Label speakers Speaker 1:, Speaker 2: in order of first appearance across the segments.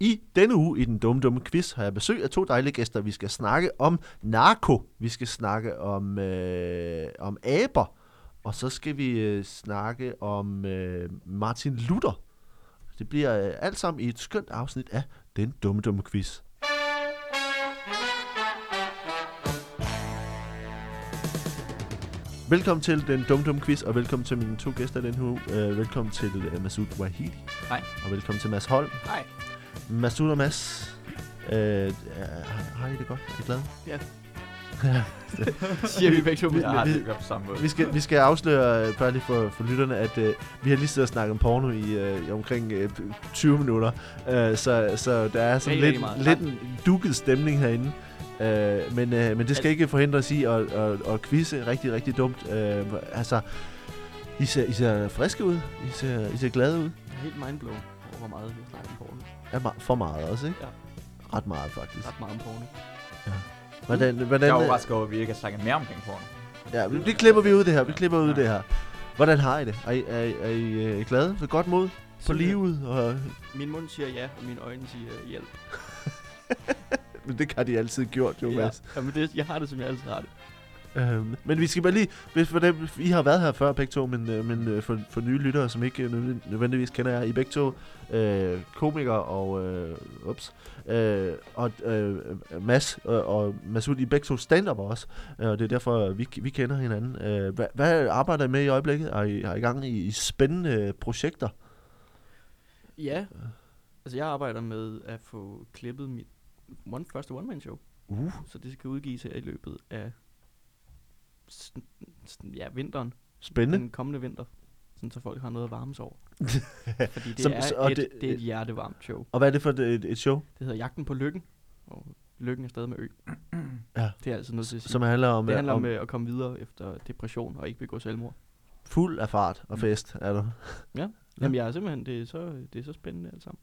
Speaker 1: I denne uge i den dumme, dumme quiz har jeg besøg af to dejlige gæster. Vi skal snakke om narko, vi skal snakke om, øh, om aber, og så skal vi øh, snakke om øh, Martin Luther. Det bliver øh, alt sammen i et skønt afsnit af den dumme, dumme quiz. Velkommen til den dumme, dumme quiz, og velkommen til mine to gæster den her uge. Øh, velkommen til øh, Masoud Wahidi.
Speaker 2: Hej.
Speaker 1: Og velkommen til Mads Holm.
Speaker 2: Hej.
Speaker 1: Masud og Mads, øh, øh, har- har I det godt? Er I glade?
Speaker 2: Siger vi begge to,
Speaker 1: Vi-
Speaker 2: vi har
Speaker 1: vi-
Speaker 2: det godt på samme måde.
Speaker 1: Vi skal, vi skal afsløre, øh, bare lige for, for lytterne, at øh, vi har lige siddet og snakket om porno i, øh, i omkring øh, 20 minutter. Øh, så, så der er sådan
Speaker 2: Rigtig,
Speaker 1: lidt,
Speaker 2: rigtig meget.
Speaker 1: lidt en dukket stemning herinde. Øh, men, øh, men det skal ikke forhindre os i at, at, at, at quizze rigtig, rigtig dumt. Øh, altså, I ser, I ser friske ud. I ser, I ser glade ud.
Speaker 3: Jeg er helt mindblown over, hvor meget vi har snakket om porno.
Speaker 1: Er me- for meget også, ikke?
Speaker 3: Ja.
Speaker 1: Ret meget, faktisk.
Speaker 3: Ret meget om porno.
Speaker 1: Hvordan, hvordan,
Speaker 2: Jeg er overrasket over, at vi ikke har snakket mere omkring porno.
Speaker 1: Ja, vi, vi klipper vi ud det her. Vi
Speaker 2: Ja.
Speaker 1: klipper ud
Speaker 2: Ja.
Speaker 1: det her. Hvordan har I det? Er I, er, I- er I øh, glade? Ved godt mod? På
Speaker 3: Sådan
Speaker 1: livet? Og,
Speaker 3: her. Min mund siger ja, og mine øjne siger øh, hjælp.
Speaker 1: men det har de altid gjort, jo,
Speaker 3: ja.
Speaker 1: Mads.
Speaker 3: Jamen, det, jeg har det, som jeg altid har det.
Speaker 1: Øhm, men vi skal bare lige... Hvis for dem, I har været her før begge to, men, øh, men øh, for, for nye lyttere, som ikke øh, nødv- nødvendigvis kender jer, I er begge to øh, komikere og... Øh, ups. Øh, og øh, Mads øh, og Masud, I er begge to stand også, øh, og det er derfor, vi, vi kender hinanden. Øh, hvad, hvad arbejder I med i øjeblikket? Er I, er I gang i, i spændende øh, projekter?
Speaker 3: Ja. Altså, jeg arbejder med at få klippet mit one, første one-man-show.
Speaker 1: Uh.
Speaker 3: Så det skal udgives her i løbet af sådan- sådan- ja, vinteren.
Speaker 1: Spændende.
Speaker 3: Den kommende vinter. Sådan, så folk har noget at varme sig over. Fordi det,
Speaker 1: Som-
Speaker 3: som, er,
Speaker 1: så-
Speaker 3: så,
Speaker 1: og
Speaker 3: et,
Speaker 1: det-
Speaker 3: det, det er et hjertevarmt show.
Speaker 1: Og hvad er det for et, et, et show,
Speaker 3: Det hedder Jagten på Lykken. Og Lykken er stadig med ø.
Speaker 1: Ja.
Speaker 3: Det er altså noget til at sige.
Speaker 1: som handler om,
Speaker 3: Det handler om,
Speaker 1: om
Speaker 3: øh, at komme videre efter depression og ikke begå selvmord.
Speaker 1: fuld af fart og
Speaker 3: Mm.
Speaker 1: fest, er du?
Speaker 3: Jamen jeg er simpelthen, det er så, det er så spændende alt sammen.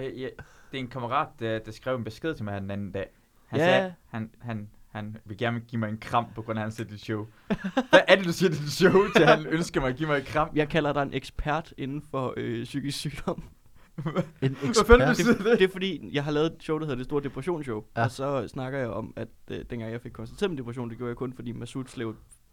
Speaker 2: Øh, ja, Det er en kammerat, der, der skrev en besked til mig her den anden dag. Han
Speaker 3: Ja.
Speaker 2: sagde, han, han, han vil gerne give mig en kram på grund af, at han ser dit show. Hvad er det, du siger til dit show, til han ønsker mig at give mig en kram?
Speaker 3: Jeg kalder dig en ekspert inden for øh, psykisk sygdom.
Speaker 1: En
Speaker 2: Hvad fanden
Speaker 1: ekspert.
Speaker 2: betyder det?
Speaker 3: Det er fordi, jeg har lavet et show, der hedder Det Store Depressionsshow.
Speaker 1: Ja.
Speaker 3: Ja. Og så snakker jeg om, at øh, dengang jeg fik konstateret min depression, det gjorde jeg kun, fordi Masud slæb,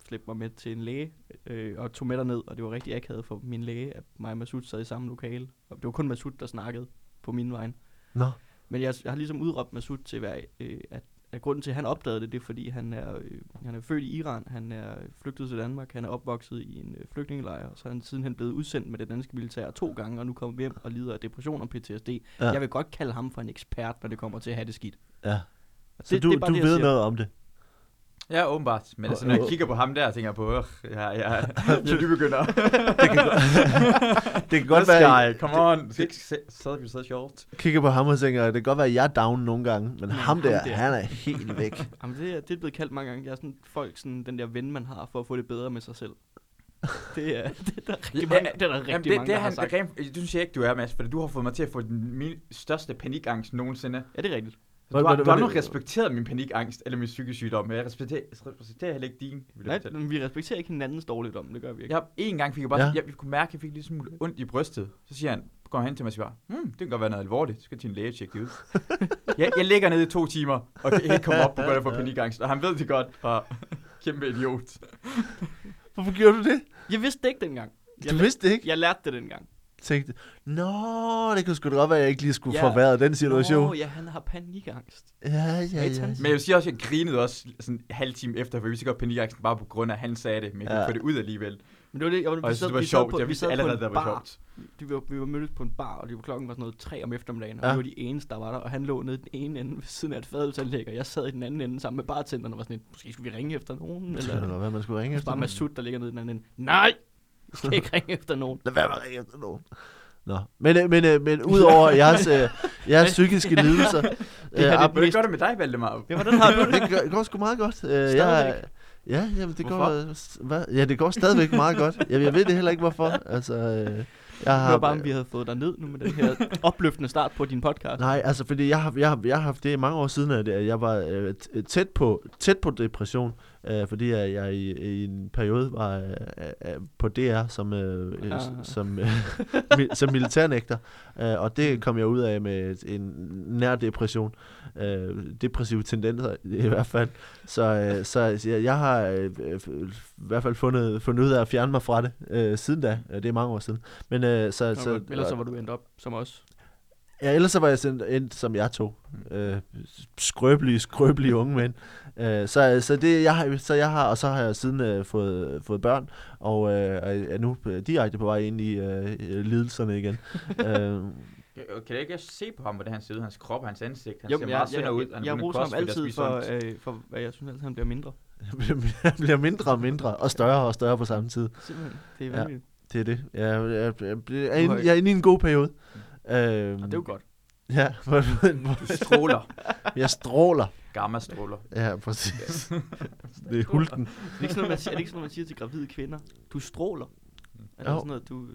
Speaker 3: slæbte mig med til en læge øh, og tog med derned. Og det var rigtig akavet for min læge, at mig og Masud sad i samme lokale. Og det var kun Masud, der snakkede på min vej.
Speaker 1: Nå,
Speaker 3: Men jeg, jeg har ligesom udråbt Masud til, hvad, øh, at, at grunden til, at han opdagede det, det er, fordi han er, øh, han er født i Iran, han er flygtet til Danmark, han er opvokset i en øh, flygtningelejr, og så er han sidenhen blevet udsendt med det danske militær to gange, og nu kommer hjem og lider af depression og PTSD.
Speaker 1: Ja.
Speaker 3: Ja. Jeg vil godt kalde ham for en ekspert, når det kommer til at have det skidt.
Speaker 1: ja.
Speaker 3: Og
Speaker 1: Så det, Altså, du,
Speaker 3: er bare
Speaker 1: du
Speaker 3: jeg
Speaker 1: ved
Speaker 3: siger.
Speaker 1: noget om det.
Speaker 2: Ja, åbenbart. Men altså, når jeg kigger på ham der, tænker jeg på, øh, ja, ja, ja, du begynder.
Speaker 1: Det kan, go- det kan godt
Speaker 2: This
Speaker 1: være, at
Speaker 2: guy, come on. Du skal ikke se- sidde og så sjovt.
Speaker 1: jeg kigger på ham og tænker, det kan godt være, at jeg er down nogle gange, men ham
Speaker 3: ham
Speaker 1: der,
Speaker 3: der.
Speaker 1: han er helt væk.
Speaker 3: Jamen, det, er, det er blevet kaldt mange gange. Jeg er sådan folk, sådan den der ven, man har for at få det bedre med sig selv. Det er, det er der rigtig mange, det er der rigtig
Speaker 2: Jamen, det,
Speaker 3: mange
Speaker 2: det,
Speaker 3: der
Speaker 2: er
Speaker 3: har
Speaker 2: han,
Speaker 3: sagt.
Speaker 2: det, rent, det synes jeg ikke, du er, Mads, for du har fået mig til at få den min største panikangst nogensinde. Altså,
Speaker 3: Ja, det er rigtigt.
Speaker 2: Du
Speaker 1: Hvad-
Speaker 2: har,
Speaker 1: hvad-
Speaker 2: du har
Speaker 1: hvad-
Speaker 2: nu respekteret min panikangst, eller min psykisk sygdom, men jeg respekterer, respekterer heller ikke din. Vil
Speaker 3: Nej,
Speaker 2: jeg fortælle.
Speaker 3: men vi respekterer ikke hinandens dårligdom, det gør vi ikke.
Speaker 2: jeg, en gang fik jeg bare,
Speaker 1: Ja.
Speaker 2: ja. jeg kunne mærke, at jeg fik lidt smule ondt i brystet. Så siger han, går han hen til mig og siger, bare, hmm, det kan godt være noget alvorligt, så skal til en læge og tjekke det ud. jeg, jeg ligger nede i to timer, og kan ikke komme op på grund af for panikangst, og han ved det godt, og kæmpe idiot.
Speaker 1: Hvorfor gjorde du det?
Speaker 3: Jeg vidste det ikke dengang. Jeg
Speaker 1: Du
Speaker 3: la-
Speaker 1: vidste det ikke?
Speaker 3: Jeg lærte det dengang.
Speaker 1: Tænkte, nå, det kunne sgu da godt være, at jeg ikke lige skulle
Speaker 3: Ja.
Speaker 1: forværre den situation.
Speaker 3: Nå, ja, han har panikangst.
Speaker 1: Ja, ja, ja.
Speaker 3: Satans.
Speaker 2: Men jeg vil sige også, at jeg grinede også sådan en halv time efter, for jeg vidste godt panikangsten bare på grund af, at han sagde det, men jeg kunne
Speaker 1: Ja.
Speaker 2: ikke få det ud alligevel.
Speaker 3: Men det var det, jeg var,
Speaker 2: Og jeg synes, det var sjovt. Jeg vidste allerede, det var sjovt.
Speaker 3: Vi var, vi var mødtes på en bar, og det var klokken var sådan noget tre om eftermiddagen, og
Speaker 1: Ja.
Speaker 3: vi var de eneste, der var der, og han lå nede i den ene ende ved siden af et fadølsanlæg, og jeg sad i den anden ende sammen med bartenderen og var sådan lidt, måske skulle vi ringe efter nogen,
Speaker 1: Det kunne da
Speaker 3: eller
Speaker 1: godt være, man skulle ringe
Speaker 3: det
Speaker 1: efter
Speaker 3: bare
Speaker 1: nogen.
Speaker 3: Masud, der ligger nede i den anden ende. Nej! Jeg skal ikke ringe efter nogen.
Speaker 1: Lad være med at ringe efter nogen. Nå, men, øh, men, øh, men udover jeres, øh, jeres psykiske lidelser,
Speaker 3: her, det
Speaker 1: øh,
Speaker 3: er
Speaker 2: Hvordan gør det med dig, Valdemar?
Speaker 3: Ja, hvordan har du det?
Speaker 1: det, gør, det går sgu meget godt. Øh, jeg,
Speaker 3: Stadigvæk?
Speaker 1: ja, jamen, det går,
Speaker 2: Hvorfor?
Speaker 1: øh, s- hvad? ja, det går stadigvæk meget godt. Jeg, jeg ved det heller ikke, hvorfor. Altså, øh, jeg
Speaker 3: Det
Speaker 1: har,
Speaker 3: var bare, om vi havde fået dig ned nu med den her opløftende start på din podcast.
Speaker 1: Nej, altså, øh, fordi jeg har, jeg, har, jeg har haft det mange år siden, at jeg var øh, t- tæt, på, tæt på depression. øh, fordi jeg, jeg i, i en periode var øh, øh, på DR som, øh,
Speaker 3: Ah.
Speaker 1: ah. som, øh, mi, som militærnægter, øh, og det kom jeg ud af med et- en nær depression, øh, depressive tendenser i hvert fald, så, øh, så jeg, jeg har øh, øh, i hvert fald fundet, fundet ud af at fjerne mig fra det øh, siden da, Øh, det er mange år siden, men øh, så,
Speaker 3: Så,
Speaker 1: så,
Speaker 3: ellers så var du endt op som os.
Speaker 1: Ja, ellers så var jeg sådan endt, som jeg tog. Øh, skrøbelige, skrøbelige unge mænd. Øh, så, så det jeg har, så jeg har, og så har jeg siden øh, fået, fået børn, og øh, og er nu øh, direkte på vej ind i øh, lidelserne igen. øh,
Speaker 2: Kan, kan jeg ikke se på ham, hvordan han ser ud? Hans krop, hans ansigt. Han
Speaker 3: Jo,
Speaker 2: ser
Speaker 3: men
Speaker 2: meget sønder ud.
Speaker 3: jeg, jeg, jeg roser ham altid for, øh, for, hvad jeg synes altid, han bliver mindre.
Speaker 1: jeg bliver- jeg bliver mindre og mindre, og større og større på samme tid.
Speaker 3: Simpelthen. Det er
Speaker 1: Ja.
Speaker 3: vanvittigt.
Speaker 1: Det er det. Jeg, jeg, jeg, jeg, er, inde, jeg er inde i en god periode. Øh,
Speaker 3: Og det er jo godt.
Speaker 1: ja,
Speaker 2: Du stråler.
Speaker 1: jeg stråler.
Speaker 2: Gamma stråler.
Speaker 1: Ja, præcis. Det er hulten.
Speaker 3: Er det ikke sådan noget, man, siger- er det ikke sådan noget, man siger til gravide kvinder? Du stråler. Er det
Speaker 1: Jo.
Speaker 3: sådan noget, du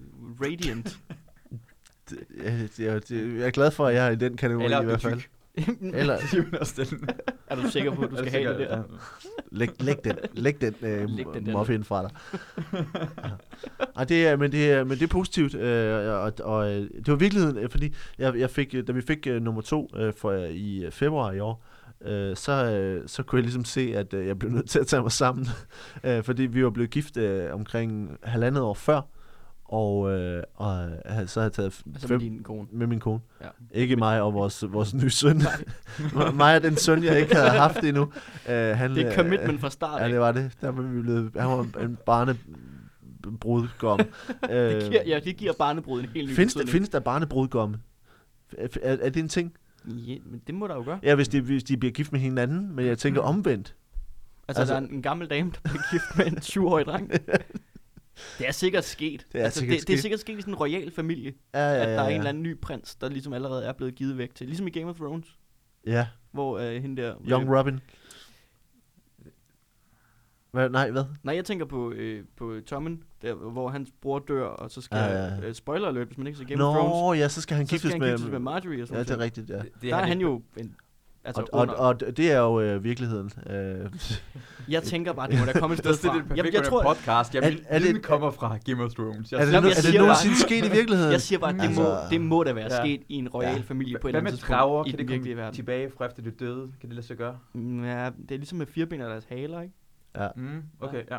Speaker 3: radiant?
Speaker 1: Det- Jeg, jeg, jeg er glad for, at jeg er i den kategori
Speaker 2: Eller
Speaker 1: i hvert fald. Eller
Speaker 3: er du sikker på, at du skal have det der?
Speaker 1: læg, læg den, læg den, øh,
Speaker 3: Læg
Speaker 1: læg
Speaker 3: den
Speaker 1: den
Speaker 3: der
Speaker 1: muffin fra dig. Ja. Ej, det er, men, det er, men det er positivt, øh, og, og øh, det var virkeligheden, øh, fordi jeg, jeg fik, øh, da vi fik øh, nummer to øh, for, øh, i øh, februar i år, øh, så, øh, så kunne jeg ligesom se, at øh, jeg blev nødt til at tage mig sammen, øh, fordi vi var blevet gift øh, omkring halvandet år før, og, øh, og øh, så har jeg taget f-
Speaker 3: Altså med
Speaker 1: fem,
Speaker 3: din kone.
Speaker 1: med min kone.
Speaker 3: Ja.
Speaker 1: Ja. Ikke mig og vores, vores nye søn. mig og den søn, jeg ikke havde haft endnu. Uh, han,
Speaker 3: Det er
Speaker 1: øh,
Speaker 3: commitment fra start.
Speaker 1: Ja,
Speaker 3: af.
Speaker 1: det var det. Der var vi blevet, han var en barnebrudgom. uh,
Speaker 3: det giver, ja, det giver barnebrud en helt ny
Speaker 1: findes, der,
Speaker 3: betydning.
Speaker 1: findes der barnebrudgomme? Er, er, er det en ting?
Speaker 3: Ja, men det må der jo gøre.
Speaker 1: Ja, hvis de, hvis de bliver gift med hinanden, men jeg
Speaker 3: Mm.
Speaker 1: tænker omvendt.
Speaker 3: Altså,
Speaker 1: Altså-
Speaker 3: altså der er en, en gammel dame, der bliver gift med en 20-årig dreng. Det er sikkert sket.
Speaker 1: Det er
Speaker 3: altså,
Speaker 1: sikkert
Speaker 3: det, det er
Speaker 1: sket.
Speaker 3: sikkert sket i sådan en royal familie,
Speaker 1: Ja, ja,
Speaker 3: ja,
Speaker 1: ja,
Speaker 3: at der
Speaker 1: ja.
Speaker 3: er en eller anden ny prins, der ligesom allerede er blevet givet væk til. Ligesom i Game of Thrones,
Speaker 1: Ja,
Speaker 3: hvor øh, hende der...
Speaker 1: Young Robin. Hvad, nej, hvad?
Speaker 3: Nej, jeg tænker på, øh, på Tommen, der, hvor hans bror dør, og så skal...
Speaker 1: Ja, ja,
Speaker 3: Ja,
Speaker 1: ja.
Speaker 3: Øh, spoiler alert, hvis man ikke ser Game of Thrones.
Speaker 1: Nå, ja, så skal han
Speaker 3: så skal
Speaker 1: giftes
Speaker 3: han
Speaker 1: med...
Speaker 3: giftes med Marjorie og sådan
Speaker 1: Ja, det er
Speaker 3: noget.
Speaker 1: rigtigt, ja.
Speaker 2: Det
Speaker 3: Der er han jo... En, altså,
Speaker 1: Og, og,
Speaker 3: under.
Speaker 1: og det er jo øh, virkeligheden. Øh,
Speaker 3: jeg tænker bare, det må da komme et
Speaker 2: Det er
Speaker 3: sted
Speaker 2: sådan lidt
Speaker 3: fra. Jeg,
Speaker 2: perfekt
Speaker 3: jeg, tror,
Speaker 2: podcast. Jeg
Speaker 1: Er-
Speaker 2: vil,
Speaker 1: er det-
Speaker 2: den kommer fra Game of Thrones. Jeg
Speaker 1: Er det,
Speaker 2: siger-
Speaker 1: no-
Speaker 3: jeg
Speaker 1: er det
Speaker 3: siger
Speaker 1: nogensinde sket i virkeligheden?
Speaker 3: jeg siger bare, at det,
Speaker 1: Altså-
Speaker 3: må, det må da være
Speaker 2: Ja.
Speaker 3: sket i en royal
Speaker 1: Ja.
Speaker 3: familie på et
Speaker 2: Hvad
Speaker 3: eller andet
Speaker 2: med
Speaker 3: tidspunkt
Speaker 2: drager?
Speaker 3: i
Speaker 2: Kan
Speaker 3: den
Speaker 2: det
Speaker 3: virkelige
Speaker 2: komme
Speaker 3: verden.
Speaker 2: tilbage fra efter det døde? Kan det lade sig gøre?
Speaker 3: Mm, Ja, det er ligesom med firben og deres haler, ikke?
Speaker 2: Mm, okay, ja.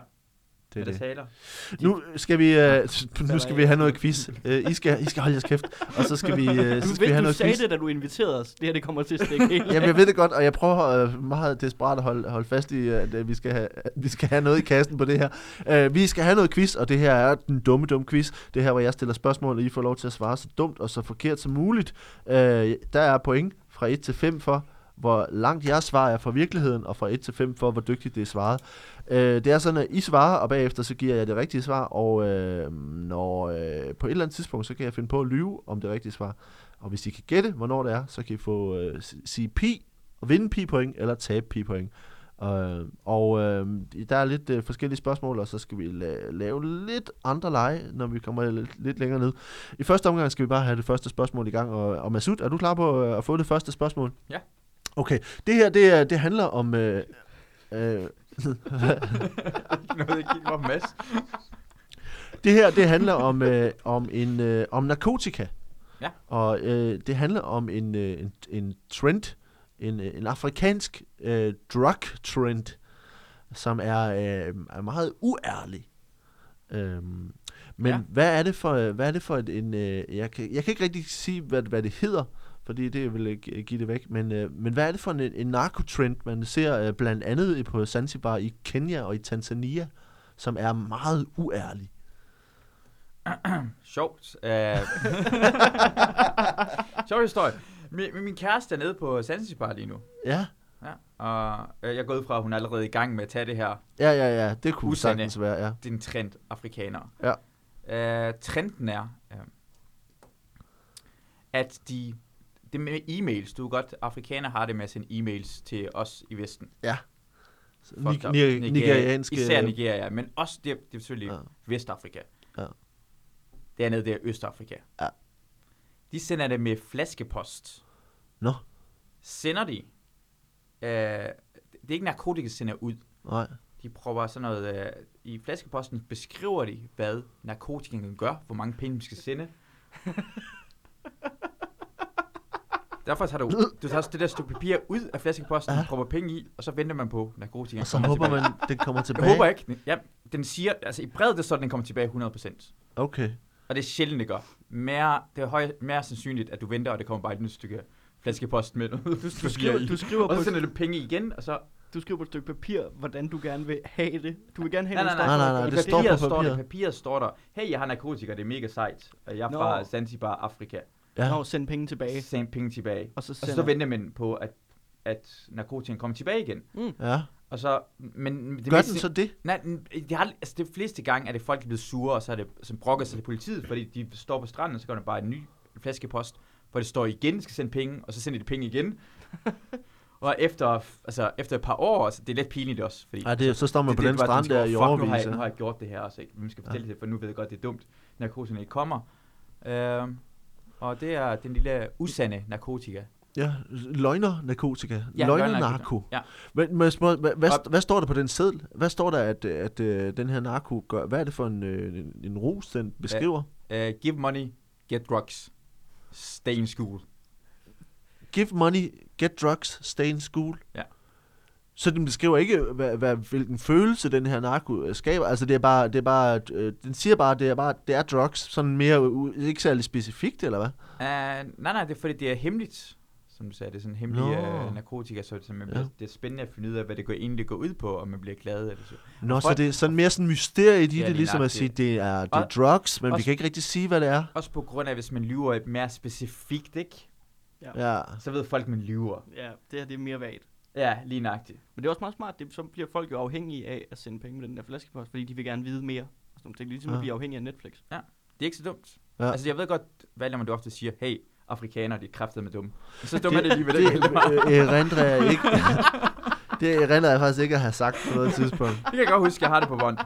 Speaker 1: det er det.
Speaker 2: taler.
Speaker 1: Nu skal vi, uh, nu skal vi have noget quiz. Uh, I, skal, I skal holde jeres kæft, og så skal vi, uh, så
Speaker 3: Altså, Du,
Speaker 1: skal vi
Speaker 3: ved,
Speaker 1: have
Speaker 3: du
Speaker 1: noget
Speaker 3: sagde
Speaker 1: quiz.
Speaker 3: det, da du inviterede os. Det her, det kommer til at stikke helt.
Speaker 1: Jamen, jeg ved det godt, og jeg prøver uh, meget desperat at holde, holde fast i, at øh, vi skal, have, at vi skal have noget i kassen på det her. Uh, vi skal have noget quiz, og det her er den dumme, dumme quiz. Det er her, hvor jeg stiller spørgsmål, og I får lov til at svare så dumt og så forkert som muligt. Uh, der er point fra 1 til 5 for, hvor langt jeres svar er fra virkeligheden, og fra 1 til 5 for, hvor dygtigt det er svaret. Øh, det er sådan, at I svarer, og bagefter så giver jeg det rigtige svar, og øh, når øh, på et eller andet tidspunkt, så kan jeg finde på at lyve om det rigtige svar. Og hvis I kan gætte, hvornår det er, så kan I få øh, s- sige pi, og vinde pi point, eller tabe pi point. Øh, og øh, der er lidt øh, forskellige spørgsmål, og så skal vi la- lave lidt andre lege, når vi kommer lidt, lidt længere ned. I første omgang skal vi bare have det første spørgsmål i gang, og, og Masud, er du klar på øh, at få det første spørgsmål?
Speaker 2: Ja.
Speaker 1: Okay, det her det, er- det handler om... Øh, øh,
Speaker 2: Nu ved jeg ikke helt, hvor Mads.
Speaker 1: Det her, det handler om, øh, om, en, øh, om narkotika.
Speaker 2: Ja.
Speaker 1: Og øh, det handler om en, øh, en, en trend, en, øh, en afrikansk øh, drug trend, som er, øh, er meget uærlig. Øhm, men
Speaker 2: Ja.
Speaker 1: ja. hvad er det for, hvad er det for et, en, øh, jeg, kan, jeg kan ikke rigtig sige, hvad, hvad det hedder, fordi det vil ikke give det væk, men, øh, men hvad er det for en, en narkotrend, man ser øh, blandt andet på Zanzibar i Kenya og i Tanzania, som er meget uærlig?
Speaker 2: Sjovt. Uh... Sjov historie. Min, min kæreste er nede på Zanzibar lige nu.
Speaker 1: Ja,
Speaker 2: Ja. Og øh, jeg er gået fra, at hun er allerede i gang med at tage det her.
Speaker 1: ja, ja, ja. Det kunne
Speaker 2: Usande.
Speaker 1: sagtens være, ja.
Speaker 2: Det er en trend, afrikanere.
Speaker 1: Ja.
Speaker 2: Uh, trenden er, uh, at de... Det med e-mails, du ved godt, afrikanere har det med at sende e-mails til os i Vesten.
Speaker 1: Ni- øh.
Speaker 2: up.
Speaker 1: ni-
Speaker 2: Nigeria-
Speaker 1: nigerianske...
Speaker 2: Især Nigeria, men også det, det er selvfølgelig
Speaker 1: Ja.
Speaker 2: ja. Vestafrika.
Speaker 1: Ja.
Speaker 2: Dernede, det er Østafrika.
Speaker 1: Ja.
Speaker 2: De sender det med flaskepost.
Speaker 1: Nå,
Speaker 2: Sender de... Øh, det er ikke narkotika, de sender ud.
Speaker 1: nej.
Speaker 2: De prøver sådan noget... Øh, I flaskeposten beskriver de, hvad narkotikaen gør, hvor mange penge man skal sende. Derfor tager du, du tager også det der stykke papir ud af flaskeposten,
Speaker 1: Ja.
Speaker 2: ja. prøver penge i, og så venter man på, Altså, at narkotikaen
Speaker 1: Og så
Speaker 2: kommer
Speaker 1: håber
Speaker 2: tilbage.
Speaker 1: man, den kommer tilbage.
Speaker 2: Jeg håber ikke. Ja, den siger, altså i brevet, der står, at den kommer tilbage 100%.
Speaker 1: Okay.
Speaker 2: Og det er sjældent, det gør. Mere, det er høj, mere sandsynligt, at du venter, og det kommer bare et nyt stykke flaskepost med noget. Du,
Speaker 3: Du skriver, du, skriver
Speaker 2: og
Speaker 3: på
Speaker 2: så
Speaker 3: et,
Speaker 2: sender du penge igen, og så...
Speaker 3: du skriver på et stykke papir, hvordan du gerne vil have det. Du vil gerne have
Speaker 2: Nej, nej,
Speaker 3: nogle
Speaker 1: Nej,
Speaker 2: nej,
Speaker 3: stærke-
Speaker 1: nej, nej,
Speaker 2: I
Speaker 1: det står på
Speaker 2: papiret står der,
Speaker 1: papiret.
Speaker 2: i papiret står der, hey, jeg har narkotika, det er mega sejt, og jeg er
Speaker 3: Nå.
Speaker 2: fra Zanzibar, Afrika.
Speaker 1: Ja.
Speaker 3: Nå, send penge tilbage.
Speaker 2: Send penge tilbage.
Speaker 3: Og så,
Speaker 2: Og
Speaker 3: sender,
Speaker 2: så venter man på, at, at narkotikaen kommer tilbage igen.
Speaker 1: ja.
Speaker 2: Og så, men det
Speaker 1: Gør
Speaker 2: mest-
Speaker 1: den så det?
Speaker 2: Nej, men det har, altså det fleste gange er det folk, der er blevet sure, og så er det, som brokker sig til politiet, fordi de står på stranden, og så går der bare en ny flaskepost, hvor det står igen, skal sende penge, og så sender de penge igen. og efter, altså, efter et par år, altså, det er lidt pinligt også, fordi
Speaker 1: Ej, det, så står man
Speaker 2: det-
Speaker 1: på
Speaker 2: det er
Speaker 1: den
Speaker 2: bare,
Speaker 1: strand
Speaker 2: tænker,
Speaker 1: der
Speaker 2: "Åh,
Speaker 1: i
Speaker 2: Fuck, nu har,
Speaker 1: overvis.
Speaker 2: jeg, nu har jeg gjort det her også, ikke? Hvem skal fortælle det, for nu ved jeg godt, det er dumt. Narkosen ikke kommer. Øhm, og det er den lille usande narkotika.
Speaker 1: Ja, løgner narkotika.
Speaker 2: Ja,
Speaker 1: Ja, løgner
Speaker 2: løgnernarkotika.
Speaker 1: narko.
Speaker 2: Ja.
Speaker 1: Men, men små, hvad, hvad,
Speaker 2: Og-
Speaker 1: hvad, står der på den seddel? Hvad står der, at, at, at den her narko gør? Hvad er det for en, øh, en, en ros, den beskriver?
Speaker 2: Øh, give money, get drugs. Stay in school.
Speaker 1: Give money, get drugs, stay in school.
Speaker 2: Ja.
Speaker 1: Så den beskriver ikke, hvad, hvad, hvilken følelse den her narko øh, skaber. Altså det er bare, det er bare, øh, den siger bare, det er bare, det er drugs. Sådan mere, u- ikke særlig specifikt, eller hvad?
Speaker 2: Uh, nej, nej, det er fordi, det er hemmeligt, som du sagde. Det er sådan hemmelig
Speaker 1: Nå.
Speaker 2: uh, narkotika, så, så man
Speaker 1: Ja.
Speaker 2: bliver, det er spændende at finde ud af, hvad det går, egentlig går ud på, om man bliver glad. Eller så.
Speaker 1: Nå, så
Speaker 2: folk-
Speaker 1: det er sådan mere sådan mysterie i det,
Speaker 2: Ja,
Speaker 1: det
Speaker 2: lige
Speaker 1: ligesom at
Speaker 2: nøjagtigt.
Speaker 1: sige, det er, det er
Speaker 2: Og-
Speaker 1: drugs, men vi
Speaker 2: også-
Speaker 1: kan ikke rigtig sige, hvad det er.
Speaker 2: Også på grund af, hvis man lyver mere specifikt, ikke?
Speaker 1: Ja.
Speaker 2: så ved folk, man lyver.
Speaker 3: Ja, det her det er mere vagt.
Speaker 2: Ja, lige nøjagtigt.
Speaker 3: Men det er også meget smart, det, så bliver folk jo afhængige af at sende penge med den der flaskepost, fordi de vil gerne vide mere. Og sådan nogle ting. Det er ligesom
Speaker 1: Ja.
Speaker 3: at blive afhængig af Netflix.
Speaker 2: Det er ikke så dumt.
Speaker 1: Ja.
Speaker 2: Ja. Altså, jeg ved godt, hvad man du ofte siger, hey, afrikanere, de er kræftede med dumme. Så dumme er det alligevel
Speaker 1: Det
Speaker 2: ikke. Det,
Speaker 1: øh, erindrer jeg ikke. Det erindrer jeg faktisk ikke at have sagt på noget tidspunkt.
Speaker 2: det kan jeg godt huske, jeg har det på bånd.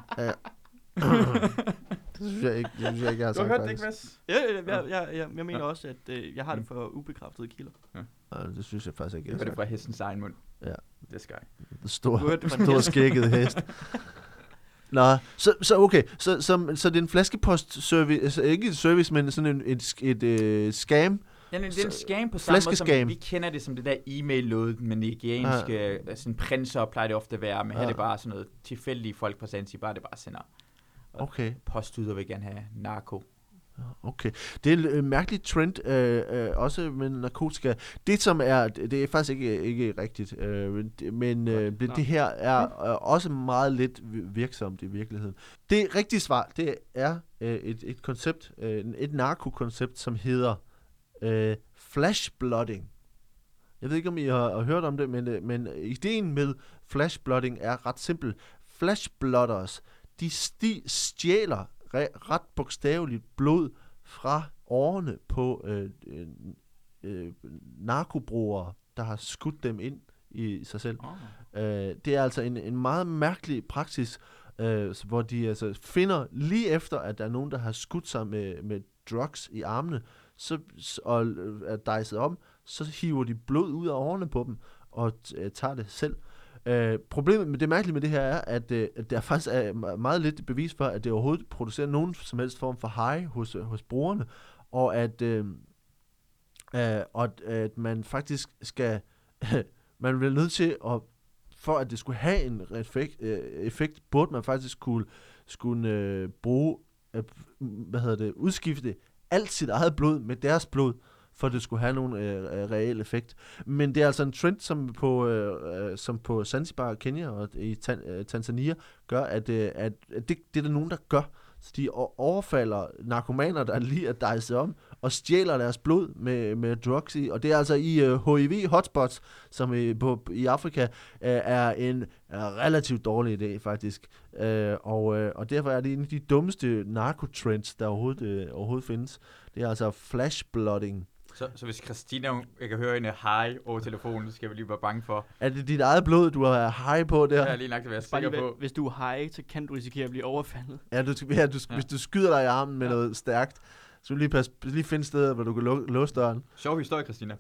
Speaker 1: Det synes jeg ikke, det synes jeg ikke jeg har sagt. faktisk.
Speaker 2: Mads?
Speaker 3: Ja, ja, ja,
Speaker 1: Ah.
Speaker 3: jeg, jeg, jeg, jeg mener
Speaker 2: Ja.
Speaker 3: også, at øh, jeg har det
Speaker 2: Mm.
Speaker 3: for ubekræftede kilder.
Speaker 1: Nej, det synes jeg faktisk ikke,
Speaker 2: Det
Speaker 1: jeg
Speaker 2: var
Speaker 1: har
Speaker 2: det
Speaker 1: sagt.
Speaker 2: fra hestens egen mund.
Speaker 1: Ja.
Speaker 2: Det skal jeg.
Speaker 1: Stor,
Speaker 3: Du hørte det fra den
Speaker 1: stor
Speaker 3: hest.
Speaker 1: skægget hest. Nå, så, så okay, så, så, så det er en flaskepost-service, altså ikke en service, men sådan en, et, et, et scam.
Speaker 2: Ja, det er en
Speaker 1: Så-
Speaker 2: scam på samme måde, som
Speaker 1: flæskeskam.
Speaker 2: vi kender det som det der e-mail-låd med nigerianske ja. sådan prinser, altså, plejer det ofte at være, men her
Speaker 1: Ja.
Speaker 2: er det bare sådan noget tilfældige folk på Zanzibar, det bare sender
Speaker 1: Okay,
Speaker 2: post ud og vil gerne have narko.
Speaker 1: okay. Det er en øh, mærkelig trend, øh, øh, også med narkotika. Det som er, det er faktisk ikke, ikke rigtigt, øh, men det- men øh, det,
Speaker 3: Nå.
Speaker 1: det her er øh, også meget lidt vi- virksomt i virkeligheden. Det rigtige svar, det er øh, et, et koncept, øh, et narkokoncept, som hedder øh, flashblotting. Jeg ved ikke, om I har, har hørt om det, men, øh, men ideen med flashblotting er ret simpel. Flashblotters, de sti, stjæler re, ret bogstaveligt blod fra årene på øh, øh, øh, narkobrugere, der har skudt dem ind i sig selv.
Speaker 2: Oh.
Speaker 1: Øh, det er altså en, en meget mærkelig praksis, øh, s- hvor de altså finder lige efter, at der er nogen, der har skudt sig med, med drugs i armene, så, s- og øh, er dejset om, så hiver de blod ud af årene på dem, og t- øh, tager det selv. Øh, problemet med det mærkelige med det her er, at, øh, at der faktisk er me- meget lidt bevis for, at det overhovedet producerer nogen som helst form for high hos, øh, hos brugerne, og at, øh, øh, og at, at man faktisk skal, man bliver nødt til at for at det skulle have en effekt, øh, effekt burde man faktisk kunne, skulle øh, bruge, øh, hvad hedder det, udskifte alt sit eget blod med deres blod, for at det skulle have nogen øh, øh, reel effekt. Men det er altså en trend, som på, øh, øh, som på Zanzibar, Kenya og i Tan, øh, Tanzania gør, at, øh, at, at det, det er der nogen, der gør. Så de o- overfalder narkomaner, der lige er dejset om, og stjæler deres blod med, med drugs i. Og det er altså i øh, HIV-hotspots, som i, på, i Afrika, øh, er en er relativt dårlig idé, faktisk. Øh, og, øh, og derfor er det en af de dummeste narkotrends, der overhovedet, øh, overhovedet findes. Det er altså flashblotting.
Speaker 2: Så, så hvis Christina, hun- jeg kan høre hende hej over telefonen, så skal vi lige være bange for.
Speaker 1: Er det dit eget blod, du har hej på der?
Speaker 2: Ja. Jeg
Speaker 1: Ja,
Speaker 2: er lige nok til at være
Speaker 3: Bare
Speaker 2: sikker
Speaker 3: lige,
Speaker 2: på.
Speaker 3: ved- hvis du er high, så kan du risikere at blive overfaldet.
Speaker 1: ja, du, skal- ja, du, ja.
Speaker 2: Ja.
Speaker 1: hvis du skyder dig i armen med ja. noget stærkt, Så lige, pas, lige finde steder, hvor du kan lu- låse døren.
Speaker 2: Sjov historie, Christina.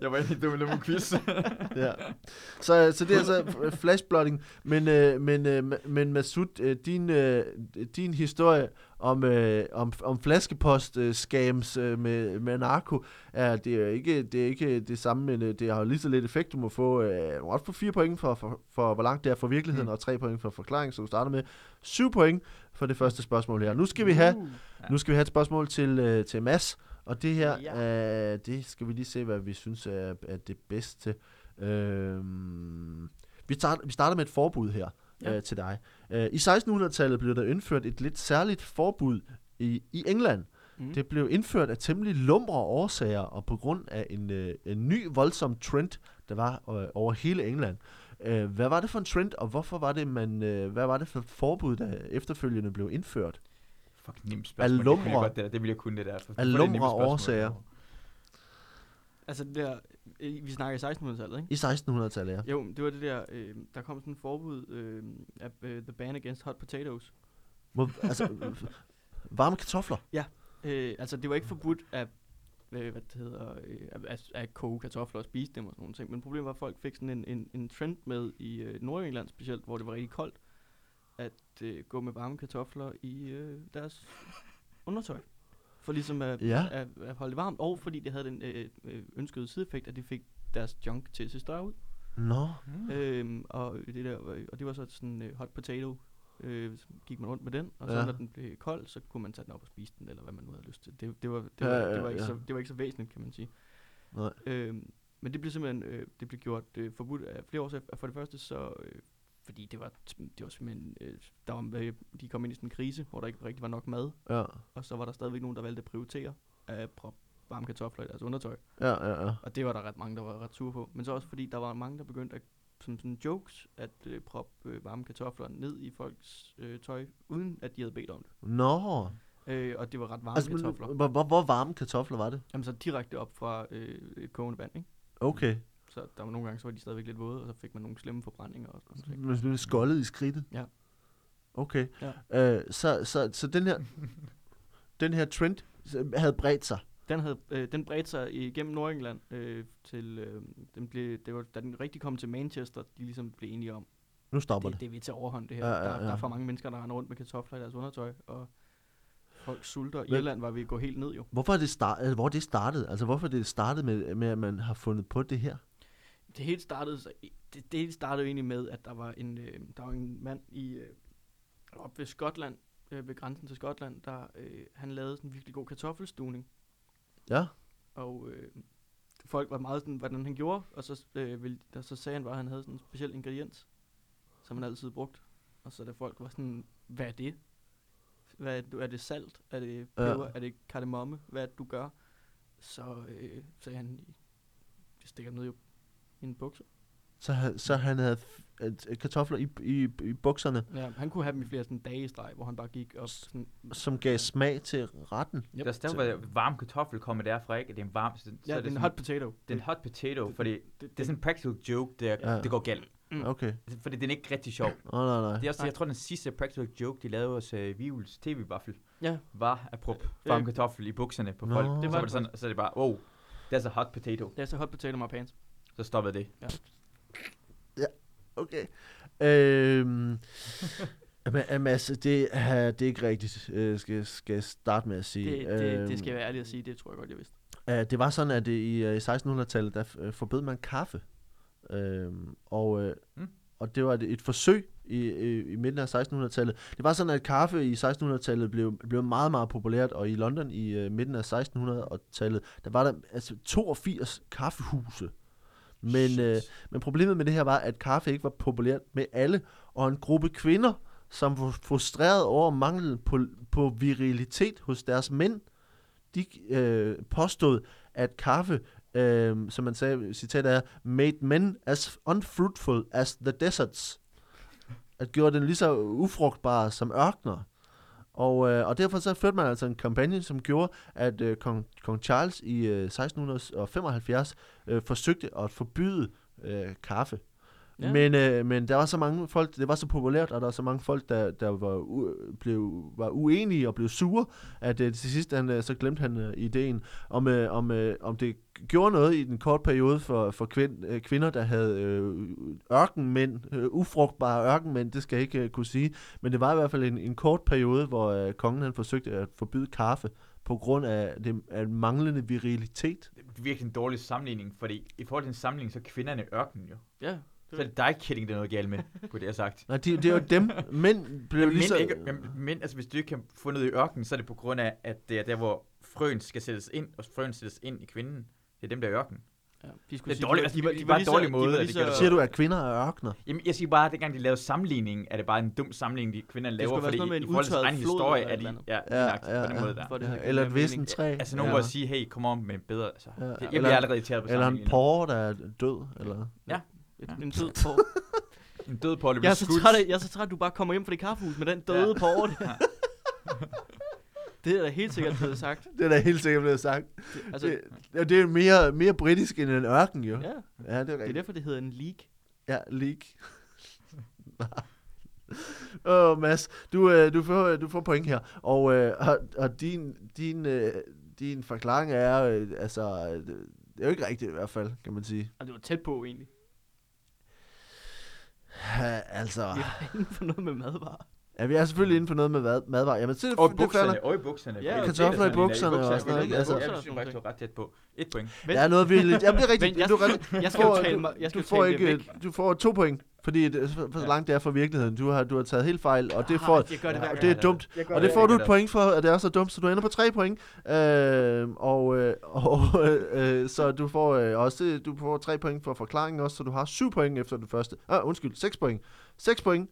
Speaker 2: jeg var egentlig dum med quiz.
Speaker 1: ja. så, så det er altså f- flashblotting. Men, øh, men, øh, men Masud, øh, din, øh, din historie om, øh, om, om flaskepost-scams øh, med, med narko, er, det, er jo ikke, det er ikke det samme, men øh, det har jo lige så lidt effekt. Du må få, øh, du få 4 point for, for, for, hvor langt det er fra virkeligheden,
Speaker 2: Mm.
Speaker 1: og 3 point for forklaring, så du starter med 7 point for det første spørgsmål her. Nu skal vi have
Speaker 2: Ja.
Speaker 1: nu skal vi have et spørgsmål til, øh, til Mads, og det her,
Speaker 3: Ja.
Speaker 1: ja. øh, det skal vi lige se, hvad vi synes er, er det bedste. Øh, vi, starter, vi starter med et forbud her
Speaker 3: Ja.
Speaker 1: ja. øh, til dig. Øh, I 1600-tallet blev der indført et lidt særligt forbud i, i England.
Speaker 3: Mm.
Speaker 1: Det blev indført af temmelig lumre årsager, og på grund af en, øh, en ny voldsom trend, der var øh, over hele England. Øh, hvad var det for en trend, og hvorfor var det, man, øh, hvad var det for et forbud, der efterfølgende blev indført?
Speaker 2: Fuck, nemt spørgsmål. Det kunne jeg
Speaker 1: Alumre.
Speaker 2: godt, det, der. det ville jeg kunne, det der. For- for det er
Speaker 1: Alumre
Speaker 2: nemme spørgsmål.
Speaker 1: årsager.
Speaker 3: Altså det der, øh, vi snakker i 1600-tallet, ikke?
Speaker 1: I 1600-tallet, ja.
Speaker 3: Jo, men det var det der, øh, der kom sådan en forbud øh, af øh, The Ban Against Hot Potatoes.
Speaker 1: Må, altså, øh, varme kartofler.
Speaker 3: Øh, altså det var ikke forbudt at, øh, hvad det hedder, øh, at- at, at koge kartofler og spise dem og sådan nogle ting. Men problemet var, at folk fik sådan en, en, en trend med i øh, Nordjylland specielt, hvor det var rigtig koldt, at øh, gå med varme kartofler i øh, deres undertøj. For ligesom at,
Speaker 1: Ja.
Speaker 3: at, at holde det varmt, og fordi det havde den øh, øh, ønskede sideeffekt, at det fik deres junk til at se større ud.
Speaker 1: Nå.
Speaker 2: Mm.
Speaker 3: Øhm, og, det der, var- og det var så sådan øh, hot potato, øh, så gik man rundt med den, og så
Speaker 1: Ja.
Speaker 3: når den blev kold, så kunne man tage den op og spise den, eller hvad man nu havde lyst til. Det, det, var, det, var,
Speaker 1: Ja, ja,
Speaker 3: det, var, ikke
Speaker 1: ja.
Speaker 3: så, det var ikke så væsentligt, kan man sige.
Speaker 1: Nej.
Speaker 3: Øhm, men det blev simpelthen øh, det blev gjort øh, forbudt af flere årsager. For det første så, øh, fordi det var, det var simpelthen, øh, der var, øh, de kom ind i sådan en krise, hvor der ikke rigtig var nok mad,
Speaker 1: Ja,
Speaker 3: og så var der stadigvæk nogen, der valgte at prioritere at proppe varme kartofler i deres undertøj.
Speaker 1: ja, ja. ja.
Speaker 3: Og det var der ret mange, der var ret sure på. Men så også fordi, der var mange, der begyndte at, som sådan jokes, at øh, proppe øh, varme kartofler ned i folks øh, tøj, uden at de havde bedt om det.
Speaker 1: Nå.
Speaker 3: Øh, og det var ret varme
Speaker 1: Altså,
Speaker 3: altså,
Speaker 1: men,
Speaker 3: kartofler.
Speaker 1: hvor, hvor, hvor varme kartofler var det?
Speaker 3: Jamen så direkte op fra øh, et kogende vand, ikke?
Speaker 1: Okay.
Speaker 3: Så der var nogle gange, så var de stadigvæk lidt våde, og så fik man nogle slemme forbrændinger og sådan noget.
Speaker 1: Men det blev skoldet i skridtet?
Speaker 3: Ja.
Speaker 1: Okay.
Speaker 3: Ja.
Speaker 1: Øh, så, så, så den her, den her trend så havde bredt sig.
Speaker 3: Den, havde, øh, den bredte sig igennem Nordengland øh, til, øh, den blev, det var, da den rigtig kom til Manchester, de ligesom blev enige om,
Speaker 1: Nu stopper
Speaker 3: det,
Speaker 1: det.
Speaker 3: det er vi til overhånd, det her.
Speaker 1: Ja,
Speaker 3: Ja,
Speaker 1: ja,
Speaker 3: ja, ja. Der, der
Speaker 1: ja.
Speaker 3: er for mange mennesker, der render rundt med kartofler i deres undertøj, og folk sulter.
Speaker 1: Men-
Speaker 3: Irland var vi gå helt ned jo.
Speaker 1: Hvorfor er det, start, altså, hvor er det startede? Altså, hvorfor er det startede med, med, at man har fundet på det her?
Speaker 3: Det hele startede, så, det, det hele startede jo egentlig med, at der var en, øh, der var en mand i, øh, op ved Skotland, øh, ved grænsen til Skotland, der øh, han lavede sådan en virkelig god kartoffelstuvning.
Speaker 1: Ja.
Speaker 3: Og øh, folk var meget sådan, hvordan han gjorde, og så, øh, ville, der, så sagde han bare, at han havde sådan en speciel ingrediens, som han altid brugte. Og så da folk var sådan, hvad er det? Hvad er, du, er det salt? Er det peber? Ja. Er det kardemomme? Hvad er det, du gør? Så øh, sagde han, det stikker ned i en bukser.
Speaker 1: Så, ha- så han havde f- at- at kartofler i, i, i bukserne,
Speaker 3: Ja, han kunne have dem i flere sådan dage i streg, hvor han bare gik op sådan...
Speaker 1: som gav smag til retten.
Speaker 2: Yep. Der er stadig, hvor varm kartoffel kommer derfra, ikke? Det er en varm... Så, så
Speaker 3: Ja,
Speaker 2: er
Speaker 3: det er en
Speaker 2: sådan-
Speaker 3: hot potato.
Speaker 2: Det er en hot potato,
Speaker 3: det-
Speaker 2: fordi
Speaker 3: det,
Speaker 2: det er sådan en practical joke, der,
Speaker 1: Mm. Ja.
Speaker 2: ja. det går galt.
Speaker 3: Mm.
Speaker 1: Okay.
Speaker 2: Fordi den er ikke rigtig sjov.
Speaker 1: Åh, oh, nej, nej.
Speaker 2: Det er også,
Speaker 3: Nej.
Speaker 2: jeg tror, den sidste practical joke, de lavede hos øh, Vivels tv-waffel,
Speaker 3: Ja,
Speaker 2: var at proppe varm
Speaker 3: Øh.
Speaker 2: kartoffel i bukserne på
Speaker 1: Nå.
Speaker 2: folk.
Speaker 1: Det var
Speaker 2: Det var så, var
Speaker 3: det
Speaker 2: det sådan, så er det bare, wow, that's a hot potato.
Speaker 3: det er så hot potato my pants.
Speaker 2: Så stoppede det.
Speaker 1: Okay. Øhm, men, øh, Mads, det, er, det er ikke rigtigt, øh, skal, skal jeg starte med at sige.
Speaker 3: Det, det,
Speaker 1: Øhm,
Speaker 2: øh,
Speaker 3: det skal jeg være ærlig at sige, det tror jeg godt, jeg vidste.
Speaker 1: øh, det var sådan, at øh, i øh, 1600-tallet, der øh, forbød man kaffe. Øhm, og, øh,
Speaker 2: Mm.
Speaker 1: og det var et, et forsøg i, i, i midten af 1600-tallet. Det var sådan, at kaffe i 1600-tallet blev, blev meget, meget populært, og i London i øh, midten af 1600-tallet, der var der altså 82 kaffehuse. Men,
Speaker 2: Shit.
Speaker 1: øh, men problemet med det her var, at kaffe ikke var populært med alle, og en gruppe kvinder, som var frustreret over manglen på, på virilitet hos deres mænd, de øh, påstod, at kaffe, øh, som man sagde, citatet er, made men as unfruitful as the deserts. At gøre den lige så ufrugtbare som ørkner. Og, øh, og derfor så førte man altså en kampagne, som gjorde, at øh, kong, kong Charles i øh, 1675 øh, forsøgte at forbyde øh, kaffe. Ja. Men, øh, men der var så mange folk, det var så populært, og der var så mange folk, der, der var, u- blev, var uenige og blev sure, at øh, til sidst han, øh, så glemte han øh, ideen, om, øh, om, øh, om det gjorde noget i den korte periode for, for kvind, øh, kvinder, der havde øh, ørkenmænd, øh, ufrugtbare ørkenmænd, det skal jeg ikke øh, kunne sige, men det var i hvert fald en, en kort periode, hvor øh, kongen han forsøgte at forbyde kaffe på grund af det af manglende virilitet.
Speaker 2: Det er virkelig en dårlig sammenligning, fordi i forhold til en sammenligning, så er kvinderne ørken jo.
Speaker 3: Ja.
Speaker 2: Så er det dig, Kidding, der er noget galt med, kunne det have sagt.
Speaker 1: Nej, det, det er jo dem, mænd blev
Speaker 2: Men,
Speaker 1: lige så...
Speaker 2: ikke, men, men altså, hvis du ikke kan få noget i ørkenen, så er det på grund af, at det er der, hvor frøen skal sættes ind, og frøen sættes ind i kvinden. Det er dem, der er i ørkenen.
Speaker 3: ja. De
Speaker 2: Det er dårligt, altså, de var- de var en
Speaker 3: lige så-
Speaker 2: dårlig
Speaker 3: de
Speaker 2: måde,
Speaker 3: var
Speaker 2: at
Speaker 3: lige
Speaker 2: det gjorde
Speaker 3: så-
Speaker 2: det.
Speaker 1: Siger du, at kvinder er ørkner?
Speaker 2: Jamen, jeg siger bare, at dengang de lavede sammenligningen, er det bare en dum sammenligning, de kvinderne
Speaker 3: skulle
Speaker 2: laver,
Speaker 3: være
Speaker 2: fordi
Speaker 3: sådan noget med
Speaker 2: i
Speaker 3: en
Speaker 2: forhold til deres
Speaker 3: udtørret
Speaker 2: egen
Speaker 3: flod
Speaker 2: historie
Speaker 3: eller
Speaker 2: er
Speaker 3: et
Speaker 2: de...
Speaker 3: eller
Speaker 2: Ja,
Speaker 1: Ja,
Speaker 2: ja, ja, på den
Speaker 1: ja,
Speaker 2: måde der.
Speaker 3: For at det
Speaker 1: Ja,
Speaker 3: giver
Speaker 1: eller et
Speaker 3: mere
Speaker 1: vissen
Speaker 3: mening.
Speaker 1: træ.
Speaker 2: Altså, nogen
Speaker 1: ja.
Speaker 2: må sige, hey, kom om med en bedre... Altså,
Speaker 1: Ja,
Speaker 2: det, jeg
Speaker 1: eller-
Speaker 2: bliver allerede irriteret på
Speaker 1: Eller en
Speaker 2: sammenligninger.
Speaker 1: porre, der er død, eller...
Speaker 3: Et-
Speaker 2: Ja.
Speaker 3: En død på.
Speaker 2: En død på, det
Speaker 3: Jeg
Speaker 2: bliver
Speaker 3: er, så
Speaker 2: skudt.
Speaker 3: træt af, jeg er så træt, at du bare kommer hjem fra det kaffehus med den døde ja. på over det. Det er da helt sikkert blevet sagt.
Speaker 1: Det er da helt sikkert blevet sagt.
Speaker 3: Det, altså,
Speaker 1: Altså, det, det er mere, mere britisk end en ørken, jo.
Speaker 3: ja,
Speaker 1: ja det er
Speaker 3: det er
Speaker 1: rigtigt.
Speaker 3: derfor, det hedder en leak.
Speaker 1: Ja, leak. Åh, oh, Mads, du, øh, du, får, du får point her. Og, øh, og, og din, din, øh, din forklaring er, øh, altså, øh, det er jo ikke rigtigt i hvert fald, kan man sige.
Speaker 3: Og det var tæt på egentlig.
Speaker 1: Ja, altså,
Speaker 3: Vi var inde for noget med madvarer.
Speaker 1: ja, vi er selvfølgelig inde på noget med mad, madvarer. Jamen, så,
Speaker 2: Og i
Speaker 1: det falder,
Speaker 2: bukserne, og i bukserne.
Speaker 3: Ja,
Speaker 2: Fordi
Speaker 1: kartofler i
Speaker 2: det er sådan,
Speaker 1: bukserne og sådan noget,
Speaker 2: Ja,
Speaker 1: ikke?
Speaker 2: det
Speaker 1: Altså-
Speaker 2: synes jeg faktisk, du var ret tæt på. Et point.
Speaker 1: der er noget vildt. Jamen, det er rigtigt.
Speaker 3: Vent, jeg,
Speaker 1: du er ret-
Speaker 3: jeg skal jo
Speaker 1: får-
Speaker 3: tale mig. Jeg skal
Speaker 1: du
Speaker 3: jo tale
Speaker 1: får
Speaker 3: det
Speaker 1: ikke,
Speaker 3: væk.
Speaker 1: du får to point, fordi det, for, for
Speaker 2: Ja.
Speaker 1: langt det er fra virkeligheden. Du har, du har taget helt fejl, og det, får,
Speaker 3: Ah, Jeg gør det hver
Speaker 1: og
Speaker 3: gang.
Speaker 1: det er dumt. Og det får du et point for, at det er så dumt, så du ender på tre point. Øh, og øh, og øh, øh, så du får øh, også det- du får tre point for forklaringen også, så du har syv point efter det første. Ah, undskyld, seks point. Seks point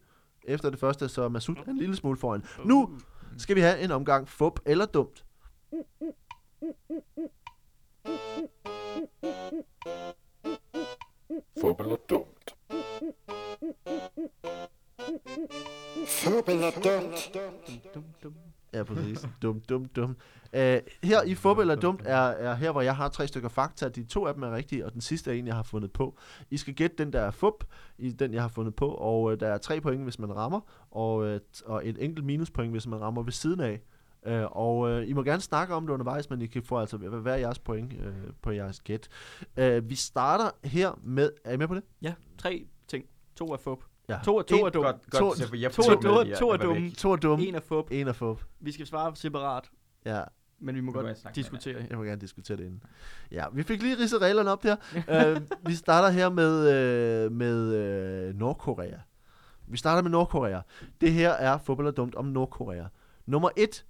Speaker 1: efter det første, så Masud er en lille smule foran. Nu
Speaker 3: Uh,
Speaker 1: skal vi have en omgang fup eller dumt.
Speaker 4: Fup eller dumt? Fup eller dumt?
Speaker 3: Dum, dum.
Speaker 1: Ja, præcis. dum, dum, dum. Øh, her i Fup eller Dumt er, er her, hvor jeg har tre stykker fakta. De to af dem er rigtige, og den sidste er en, jeg har fundet på. I skal gætte den, der er Fup, i den, jeg har fundet på. Og øh, der er tre point, hvis man rammer, og, øh, t- og et enkelt minuspoint, hvis man rammer ved siden af. Øh, og øh, I må gerne snakke om det undervejs, men I kan få altså hver hver jeres point øh, på jeres gæt. Øh, vi starter her med... Er I med på det?
Speaker 3: Ja, tre ting. To er fup.
Speaker 1: Ja.
Speaker 3: To er, to er
Speaker 1: En-
Speaker 3: dumt.
Speaker 2: Godt,
Speaker 1: To-
Speaker 2: godt. så jeg
Speaker 3: to
Speaker 2: får
Speaker 3: er
Speaker 2: med,
Speaker 3: dumme,
Speaker 2: at jeg-
Speaker 3: to er
Speaker 2: jeg var væk.
Speaker 3: dumme.
Speaker 1: To er dumme,
Speaker 3: En er fup.
Speaker 1: en er Fup.
Speaker 3: Vi skal svare separat,
Speaker 1: Ja.
Speaker 3: men vi må
Speaker 2: Nu må jeg
Speaker 3: godt
Speaker 2: snakke med
Speaker 3: diskutere.
Speaker 1: Jeg må gerne diskutere det inden. Ja, vi fik lige ridset reglerne op der. øh, vi starter her med, øh, med øh, Nordkorea. Vi starter med Nordkorea. Det her er fodbold og dumt om Nordkorea. Nummer 1.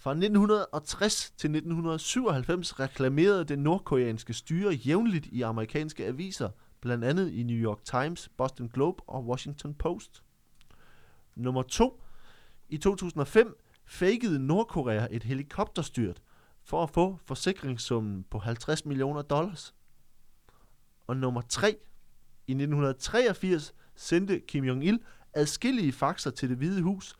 Speaker 1: Fra 1960 til 1997 reklamerede det nordkoreanske styre jævnligt i amerikanske aviser, blandt andet i New York Times, Boston Globe og Washington Post. Nummer 2. I 2005 fakede Nordkorea et helikopterstyrt for at få forsikringssummen på 50 millioner dollars. Og nummer 3. I 1983 sendte Kim Jong-il adskillige faxer til det hvide hus,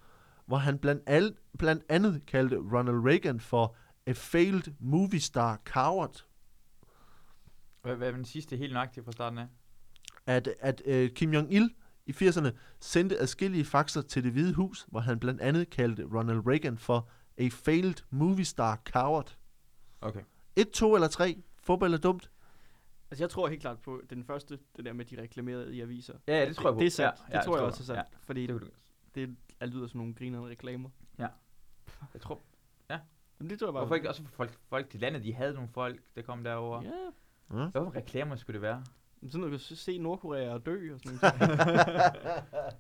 Speaker 1: hvor han blandt, al- blandt andet kaldte Ronald Reagan for a failed movie star coward.
Speaker 2: Hvad, hvad er den sidste helt nøjagtigt fra starten af?
Speaker 1: At, at øh, Kim Jong-il i 80'erne sendte adskillige faxer til det hvide hus, hvor han blandt andet kaldte Ronald Reagan for a failed movie star coward.
Speaker 2: Okay.
Speaker 1: 1, 2 eller 3. Fodbold er dumt.
Speaker 3: Altså, jeg tror helt klart på den første, det der med, de reklamerede i aviser.
Speaker 2: Ja, ja, det tror jeg på.
Speaker 3: Det er sandt.
Speaker 2: Ja,
Speaker 3: det tror jeg også er
Speaker 2: Ja,
Speaker 3: sandt. Fordi
Speaker 2: det kunne du-
Speaker 3: det er- lyder som nogle grinerende reklamer.
Speaker 2: jeg tror,
Speaker 3: Men det tror jeg bare.
Speaker 2: hvorfor ikke også for folk, folk til landet, de havde nogle folk, der kom derover.
Speaker 3: Ja,
Speaker 2: Hvorfor reklamer skulle det være?
Speaker 3: Men Sådan noget, du kan se Nordkorea og dø og sådan noget.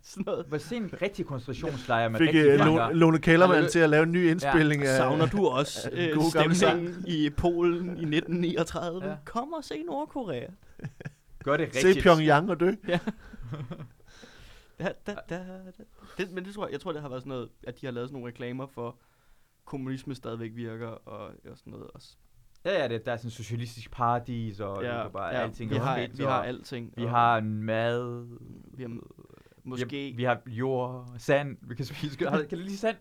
Speaker 3: sådan noget.
Speaker 2: Hvor se en rigtig koncentrationslejr med
Speaker 1: Fik
Speaker 2: rigtig
Speaker 1: øh,
Speaker 2: fanger.
Speaker 1: Lo- Lone Kellermann
Speaker 2: Ja,
Speaker 1: til at lave en ny indspilling
Speaker 2: øh,
Speaker 1: af...
Speaker 3: Savner du også
Speaker 1: den
Speaker 3: øh,
Speaker 1: gode gamle
Speaker 3: stemningen i Polen i 1939?
Speaker 2: Ja.
Speaker 3: Ja. Kom og se Nordkorea.
Speaker 2: Gør det
Speaker 1: Se
Speaker 2: rigtigt.
Speaker 1: Pyongyang og dø.
Speaker 3: Da, da, da, da. Det, men det tror jeg, jeg tror, det har været sådan noget, at de har lavet sådan nogle reklamer for, kommunisme stadigvæk virker og, og sådan noget også.
Speaker 2: Ja, ja, det, der er sådan en socialistisk paradis, og ja, du kan bare ja, alting
Speaker 3: vi,
Speaker 2: er
Speaker 3: har,
Speaker 2: fedt,
Speaker 3: vi har
Speaker 2: og
Speaker 3: alting.
Speaker 2: Vi
Speaker 3: og
Speaker 2: har mad.
Speaker 3: vi har, måske...
Speaker 2: Vi, vi har jord, sand, vi kan spise. Har- Kan du lige sand?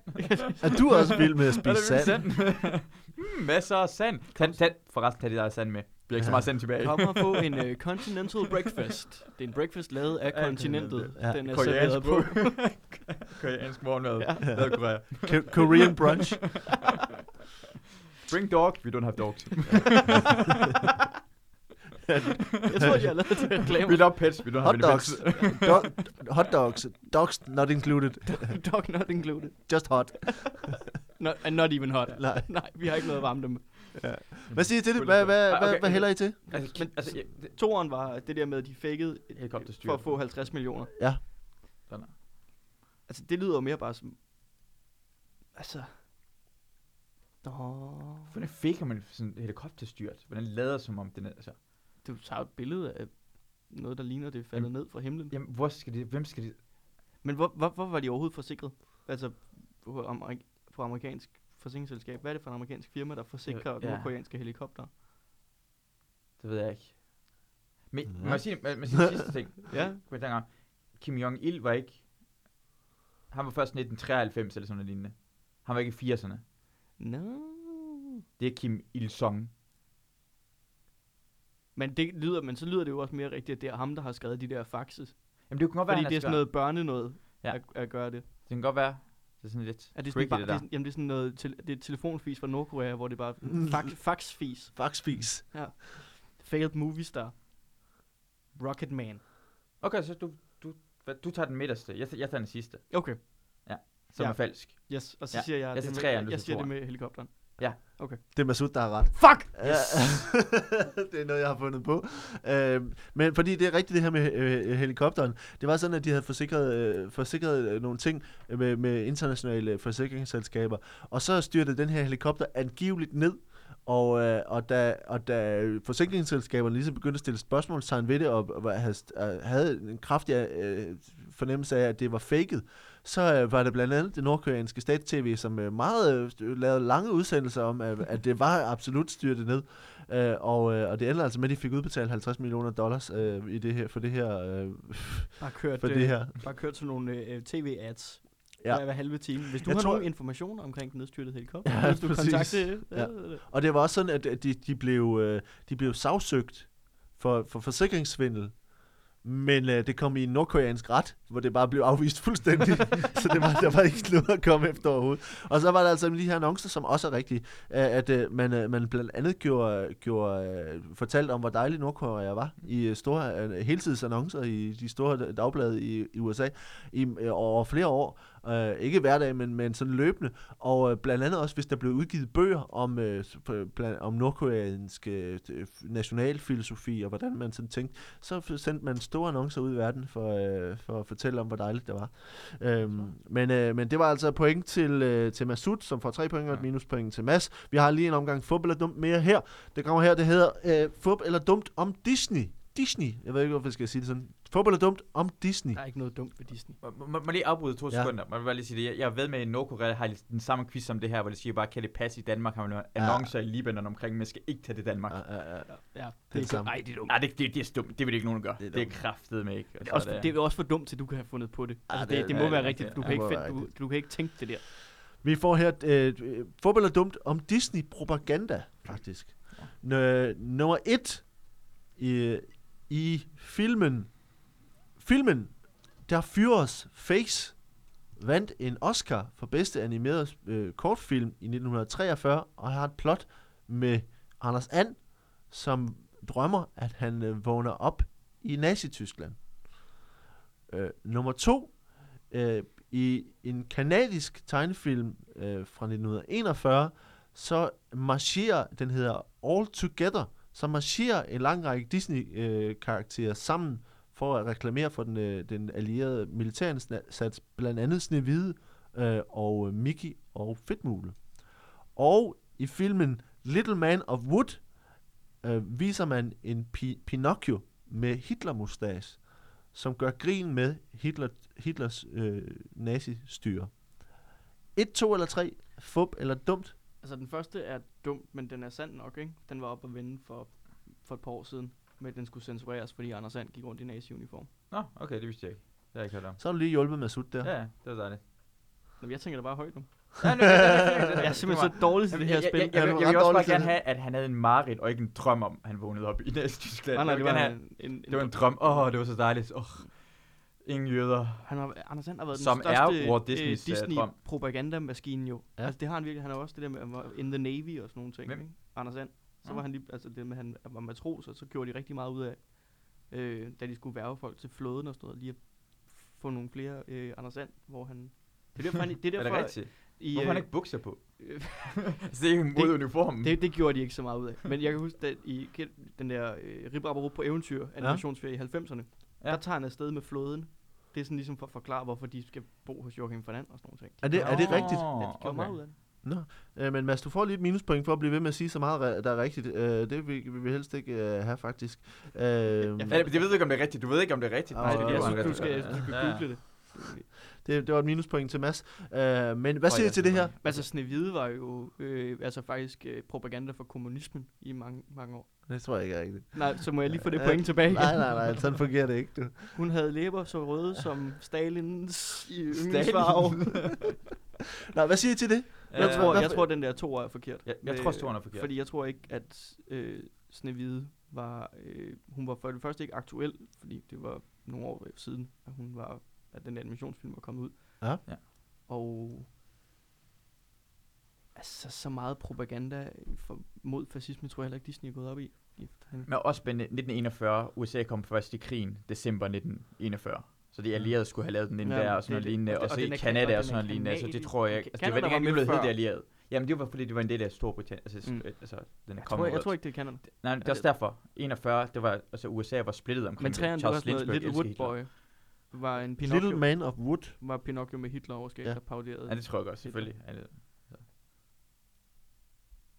Speaker 1: Er du også vild med at
Speaker 2: Er
Speaker 1: spise
Speaker 2: du vild med
Speaker 1: sand?
Speaker 2: sand? Mm, masser af sand. Tag, tag, forresten, tag det der sand med. Bliver ikke så
Speaker 1: Ja.
Speaker 2: meget sand tilbage.
Speaker 3: Kom og få en uh, Continental Breakfast. Det er en breakfast lavet af
Speaker 2: Ja,
Speaker 3: kontinentet.
Speaker 1: ja.
Speaker 3: Den er
Speaker 2: Koreansk
Speaker 3: serveret
Speaker 2: på.
Speaker 3: på.
Speaker 2: Koreansk morgenmad.
Speaker 3: Ja.
Speaker 2: Ja. Lad Korea.
Speaker 1: Ko- Korean brunch.
Speaker 2: Bring dog. We don't have dogs.
Speaker 3: Jeg tror, de har lavet det reklame.
Speaker 2: we love pets. We don't have
Speaker 1: Hot
Speaker 2: any
Speaker 1: dogs.
Speaker 2: pets.
Speaker 1: Dog, hot dogs. Dogs not included.
Speaker 3: Dog not included.
Speaker 1: Just hot.
Speaker 3: Not, and not even hot.
Speaker 1: Nej.
Speaker 3: Nej, vi har ikke noget at varme dem. med.
Speaker 1: Hvad siger I til det? Hvad, hvad,
Speaker 2: Ah,
Speaker 1: hvad,
Speaker 2: okay.
Speaker 1: hvad hælder I til?
Speaker 2: Altså, men, altså, jeg, det,
Speaker 3: Toren var det der med, at de fakede
Speaker 2: Helikopterstyr.
Speaker 3: for at få 50 millioner.
Speaker 1: Ja.
Speaker 2: Sådan der.
Speaker 3: Altså, det lyder jo mere bare som... Altså... Nå...
Speaker 2: hvordan faker man sådan en helikopterstyrt? Hvordan lader som om den er... Altså,
Speaker 3: Du tager et billede af noget, der ligner, det er faldet ned fra himlen.
Speaker 2: jamen, hvor skal det... Hvem skal det...
Speaker 3: Men hvor, hvor, hvor var de overhovedet forsikret? Altså, på, amerik- på amerikansk forsikringsselskab. Hvad er det for en amerikansk firma, der forsikrer
Speaker 2: Ja.
Speaker 3: ja. nordkoreanske helikopter?
Speaker 2: Det ved jeg ikke. Men
Speaker 1: Ja.
Speaker 2: ja. må jeg sige, må, må jeg sige en sidste ting?
Speaker 3: Ja.
Speaker 2: Kom dengang. Kim Jong-il var ikke... Han var først 1993 eller sådan noget lignende. Han var ikke i 80'erne.
Speaker 3: No.
Speaker 2: Det er Kim Il-sung.
Speaker 3: Men, det lyder, men så lyder det jo også mere rigtigt, at det er ham, der har skrevet de der faxes.
Speaker 2: Jamen det kunne godt være,
Speaker 3: Fordi
Speaker 2: han
Speaker 3: det er sådan
Speaker 2: skrevet-
Speaker 3: noget børne noget
Speaker 2: Ja.
Speaker 3: ja. at, at, gøre det.
Speaker 2: Det kan godt være. Det er sådan lidt
Speaker 3: Er det
Speaker 2: tricky,
Speaker 3: sådan bare,
Speaker 2: det
Speaker 3: det er,
Speaker 2: der.
Speaker 3: sådan- jamen, det er sådan noget, til, det er telefonfis fra Nordkorea, hvor det er bare fax, faxfis.
Speaker 1: Faxfis.
Speaker 3: Failed movie star. Rocket Man.
Speaker 2: Okay, så du, du, hvad- du tager den midterste. Jeg, tager- jeg tager den sidste,
Speaker 3: Okay,
Speaker 2: som
Speaker 3: Ja.
Speaker 2: er falsk.
Speaker 3: yes. Og så
Speaker 2: Ja,
Speaker 3: ja. siger jeg,
Speaker 2: jeg
Speaker 3: det
Speaker 2: siger
Speaker 3: med,
Speaker 2: treeren,
Speaker 3: jeg,
Speaker 2: du
Speaker 3: jeg
Speaker 2: siger
Speaker 3: siger det
Speaker 2: toeren.
Speaker 3: med helikopteren.
Speaker 1: Det er Masud, der har ret.
Speaker 3: Fuck!
Speaker 1: Yes. det er noget, jeg har fundet på. Øh, men fordi det er rigtigt det her med øh, helikopteren. Det var sådan, at de havde forsikret, øh, forsikret øh, nogle ting med, med internationale forsikringsselskaber. Og så styrtede den her helikopter angiveligt ned. Og, øh, og, da, og da forsikringsselskaberne ligesom begyndte at stille spørgsmålstegn ved det, og, og havde, øh, havde en kraftig øh, fornemmelse af, at det var faked, så øh, var det blandt andet det nordkoreanske stats-tv, som øh, meget øh, lavede lange udsendelser om, at, at det var absolut styrtet ned. Øh, og, øh, og det ender altså med, at de fik udbetalt 50 millioner dollars øh, i det her, for det her. Øh,
Speaker 3: Bare kørt, øh,
Speaker 1: for det her.
Speaker 3: bare kørt sådan nogle øh, tv-ads
Speaker 1: Ja.
Speaker 3: ja. hver, hver halve time. Hvis du
Speaker 1: Jeg
Speaker 3: har
Speaker 1: tror-
Speaker 3: nogle informationer omkring den nedstyrtede helikopter,
Speaker 1: Ja,
Speaker 3: ja, hvis du øh,
Speaker 1: præcis.
Speaker 3: kontakte...
Speaker 1: Ja.
Speaker 3: Ja.
Speaker 1: Og det var også sådan, at, at de, de, blev, øh, de blev sagsøgt for, for forsikringssvindel. Men øh, det kom i en nordkoreansk ret, hvor det bare blev afvist fuldstændig. så det var, der var ikke noget at komme efter overhovedet. Og så var der altså de her annoncer, som også er rigtige. øh, At øh, man, øh, man blandt andet gjorde, gjorde øh, fortalt om, hvor dejlig Nordkorea var i øh, store øh, heltidsannoncer i de store dagblade i, i USA i, øh, over flere år. Øh, ikke hver dag, men, men sådan løbende. Og øh, blandt andet også, hvis der blev udgivet bøger om, øh, s- på- blandt, om nordkoreansk øh, øh, nationalfilosofi og hvordan man sådan tænkte, så f- sendte man store annoncer ud i verden for, øh, for at fortælle om, hvor dejligt det var. Øhm, men, øh, men det var altså point til, øh, til Masud, som får tre point og et
Speaker 2: Ja.
Speaker 1: minuspoint til Mads. Vi har lige en omgang fup eller dumt mere her. Det kommer her, det hedder øh, fup eller dumt om Disney. Disney. Jeg ved ikke, hvorfor jeg skal sige det sådan. Fup eller dumt om Disney.
Speaker 3: Der er ikke noget dumt ved Disney.
Speaker 2: Må, må, må lige afbryde to
Speaker 1: Ja.
Speaker 2: ja. sekunder. Må jeg bare lige sige det. Jeg, jeg er ved med, at i Nordkorea har den samme quiz som det her, hvor de siger bare, kan det passe i Danmark? Har man nogle
Speaker 1: Ja.
Speaker 2: annoncer i Libanon omkring, men skal ikke tage det Danmark.
Speaker 1: Ja, ja, ja.
Speaker 3: Ja,
Speaker 1: det
Speaker 3: det er,
Speaker 1: samme.
Speaker 3: Nej, det er dumt. Altså,
Speaker 2: Nej, det, det, det, er dumt. Det vil ikke nogen gøre.
Speaker 1: Det er
Speaker 2: Det er,
Speaker 1: dumt.
Speaker 2: kraftet med ikke. Og
Speaker 3: Det
Speaker 2: så
Speaker 3: er, også, det er også for dumt til, du kan have fundet på det. Altså,
Speaker 1: det er-
Speaker 3: det, det, må
Speaker 2: ja,
Speaker 3: være
Speaker 2: ja,
Speaker 3: rigtigt.
Speaker 2: ja,
Speaker 3: Du, kan
Speaker 1: det
Speaker 3: ikke
Speaker 1: må
Speaker 3: finde,
Speaker 1: være
Speaker 3: du, du kan ikke tænke det der.
Speaker 1: Vi får her øh, øh, fodbold og dumt om Disney-propaganda, faktisk. Nø, nummer et i, i filmen. Filmen, der Fyrers Face vandt en Oscar for bedste animeret øh, kortfilm i 1943, og har et plot med Anders And, som drømmer, at han øh, vågner op i Nazi-Tyskland. Øh, nummer to, øh, i en kanadisk tegnefilm øh, fra 1941, så marcherer, den hedder All Together, så marcherer en lang række Disney-karakterer øh, karakterer sammen for at reklamere for den, øh, den allierede militærindsats, blandt andet Snevide øh, og øh, Mickey og Fedtmule. Og i filmen Little Man of Wood øh, viser man en pi- Pinocchio med Hitler-mustache som gør grin med Hitler, Hitlers øh, nazistyre. Et, to eller tre, fup eller dumt.
Speaker 3: Altså, den første er dumt, men den er sand nok, ikke? Den var oppe at vende for, for et par år siden, men den skulle censureres, fordi Anders Sand gik rundt i nazi-uniform.
Speaker 2: Nå, okay, det vidste jeg ikke. Det har jeg ikke hørt om.
Speaker 1: Så har du lige hjulpet med sut der.
Speaker 2: Ja, ja, det var dejligt.
Speaker 3: Nå, men jeg tænker da bare højt nu.
Speaker 2: Nej, nej, nej, nej, nej, nej, nej,
Speaker 3: Jeg er
Speaker 2: det var-
Speaker 3: simpelthen så dårlig til
Speaker 2: Jamen,
Speaker 3: det her
Speaker 2: jeg-
Speaker 3: spil.
Speaker 2: Jeg, jeg, jeg,
Speaker 1: Er
Speaker 2: jeg,
Speaker 1: du
Speaker 2: jeg
Speaker 1: ret
Speaker 2: vil også
Speaker 1: dårlig
Speaker 2: bare
Speaker 1: til
Speaker 2: gerne
Speaker 1: det?
Speaker 2: have, at han havde en mareridt og ikke en drøm om, at han vågnede op i Nazi-Tyskland.
Speaker 3: Nej, nej,
Speaker 2: Jeg vil
Speaker 3: det
Speaker 2: gerne
Speaker 3: var
Speaker 2: have-
Speaker 3: en, en,
Speaker 2: det var en drøm. Åh, oh, det var så dejligt. Oh, ingen jøder.
Speaker 3: Han har, Anders Sand har været
Speaker 2: Som
Speaker 3: den
Speaker 2: er
Speaker 3: største
Speaker 2: Walt
Speaker 3: øh,
Speaker 2: Disneys, øh, drøm.
Speaker 3: Disney-propagandamaskine jo.
Speaker 1: Ja.
Speaker 3: Ja. Altså det har han virkelig. Han har også det der med, at han var in the Navy og sådan nogle ting.
Speaker 2: Hvem?
Speaker 3: Ikke? Anders Sand. Så
Speaker 2: Ah.
Speaker 3: var han lige, altså det med, at han var matros, og så gjorde de rigtig meget ud af, øh, da de skulle værve folk til flåden og sådan noget, lige at få nogle flere øh, Anders Sand, hvor han... Det er derfor, han, det er
Speaker 2: Er det
Speaker 3: derfor
Speaker 2: rigtigt?
Speaker 3: i,
Speaker 2: Hvorfor har han
Speaker 3: øh,
Speaker 2: ikke bukser på?
Speaker 3: øh,
Speaker 2: Altså, det er jo mod
Speaker 1: Mm.
Speaker 2: uniformen.
Speaker 3: det, det gjorde de ikke så meget ud af. Men jeg kan huske, at i kend- den der øh, Rip Rap og Rup på eventyr, animationsferie i 90'erne,
Speaker 2: Ja.
Speaker 3: ja. der tager han afsted med flåden. Det er sådan ligesom for at forklare, hvorfor de skal bo hos Joachim Fernand og sådan noget. ting.
Speaker 1: Er det, er det
Speaker 2: Nå,
Speaker 1: rigtigt?
Speaker 3: Ja, de gjorde okay. meget ud af det.
Speaker 1: Øh, men Mads, du får lige et minuspoint for at blive ved med at sige så meget, re- der er rigtigt. Øh, det vil, vil vi helst ikke øh, have, faktisk. Øh,
Speaker 3: jeg-
Speaker 2: Ja, det- det ved du ikke, om det er rigtigt. Du ved ikke, om det er rigtigt.
Speaker 1: Åh,
Speaker 3: Nej,
Speaker 1: det
Speaker 3: Altså, det,
Speaker 1: gjorde han
Speaker 3: jeg synes, du
Speaker 1: rigtig
Speaker 3: skal,
Speaker 1: godt.
Speaker 3: jeg synes, du skal
Speaker 2: Ja.
Speaker 3: google det.
Speaker 1: det, det var et minuspoint til Mads. Øh, men hvad
Speaker 2: Åh,
Speaker 1: siger I
Speaker 2: ja,
Speaker 1: til
Speaker 2: det
Speaker 1: det her?
Speaker 2: var-
Speaker 3: Altså, Snevide var jo øh, altså faktisk øh, propaganda for kommunismen i mange, mange år.
Speaker 1: Det tror jeg ikke er rigtigt.
Speaker 3: Nej, så må jeg lige få det
Speaker 1: Ja.
Speaker 3: point tilbage igen.
Speaker 1: Nej, nej, nej, sådan fungerer det ikke, du.
Speaker 3: Hun havde læber så røde som Stalins i yndlingsfarve.
Speaker 2: Stalin.
Speaker 1: Nå, hvad siger I til det?
Speaker 3: Jeg,
Speaker 1: Ja,
Speaker 3: tror,
Speaker 1: hvad
Speaker 3: jeg
Speaker 1: for-
Speaker 3: tror, den der to er forkert.
Speaker 2: Jeg, jeg tror, storen er forkert.
Speaker 3: øh, Fordi jeg tror ikke, at øh, Snevide var... Øh, hun var for det første ikke aktuel, fordi det var nogle år siden, at hun var at den animationsfilm var kommet ud.
Speaker 1: Ja.
Speaker 2: Ja.
Speaker 3: Og altså så meget propaganda for, mod fascisme, tror jeg heller ikke, Disney er gået op i. Han,
Speaker 2: Men også spændende, 1941, USA kom først i krigen, december 1941. Så
Speaker 3: Mm.
Speaker 2: de allierede skulle have lavet den inden
Speaker 3: Ja,
Speaker 2: der, og
Speaker 3: det
Speaker 2: sådan
Speaker 3: er
Speaker 2: noget
Speaker 3: det.
Speaker 2: lignende,
Speaker 3: Og det-
Speaker 2: og
Speaker 3: og
Speaker 2: så i
Speaker 3: den er- og
Speaker 2: Kanada
Speaker 3: den
Speaker 2: og sådan
Speaker 3: er
Speaker 2: noget lignende, så det
Speaker 3: kanadisk.
Speaker 2: tror jeg ikke. Altså, det var
Speaker 3: Canada
Speaker 2: ikke
Speaker 3: var
Speaker 2: engang
Speaker 3: med
Speaker 2: blevet hedder
Speaker 3: før.
Speaker 2: det allierede. Jamen, det var fordi, det var en del af Storbritannien. Altså,
Speaker 3: Mm.
Speaker 2: mm. altså den er
Speaker 3: jeg, tror,
Speaker 2: kommet
Speaker 3: jeg, jeg
Speaker 2: jeg,
Speaker 3: tror ikke, det er Canada.
Speaker 2: Nej, det er også derfor. 41, det var, altså USA var splittet omkring
Speaker 3: Men træerne,
Speaker 2: det.
Speaker 3: det var
Speaker 2: Charles
Speaker 3: sådan noget
Speaker 2: Lindbergh
Speaker 3: Little
Speaker 2: elskede
Speaker 3: Wood
Speaker 2: Hitler.
Speaker 3: Boy. Var en
Speaker 1: Pinocchio. Little
Speaker 3: Pinocchio,
Speaker 1: Man of Wood.
Speaker 3: var Pinocchio med Hitler overskæg,
Speaker 1: Ja.
Speaker 3: ja. der parodierede.
Speaker 2: Ja, det tror jeg godt, selvfølgelig. Ja, det-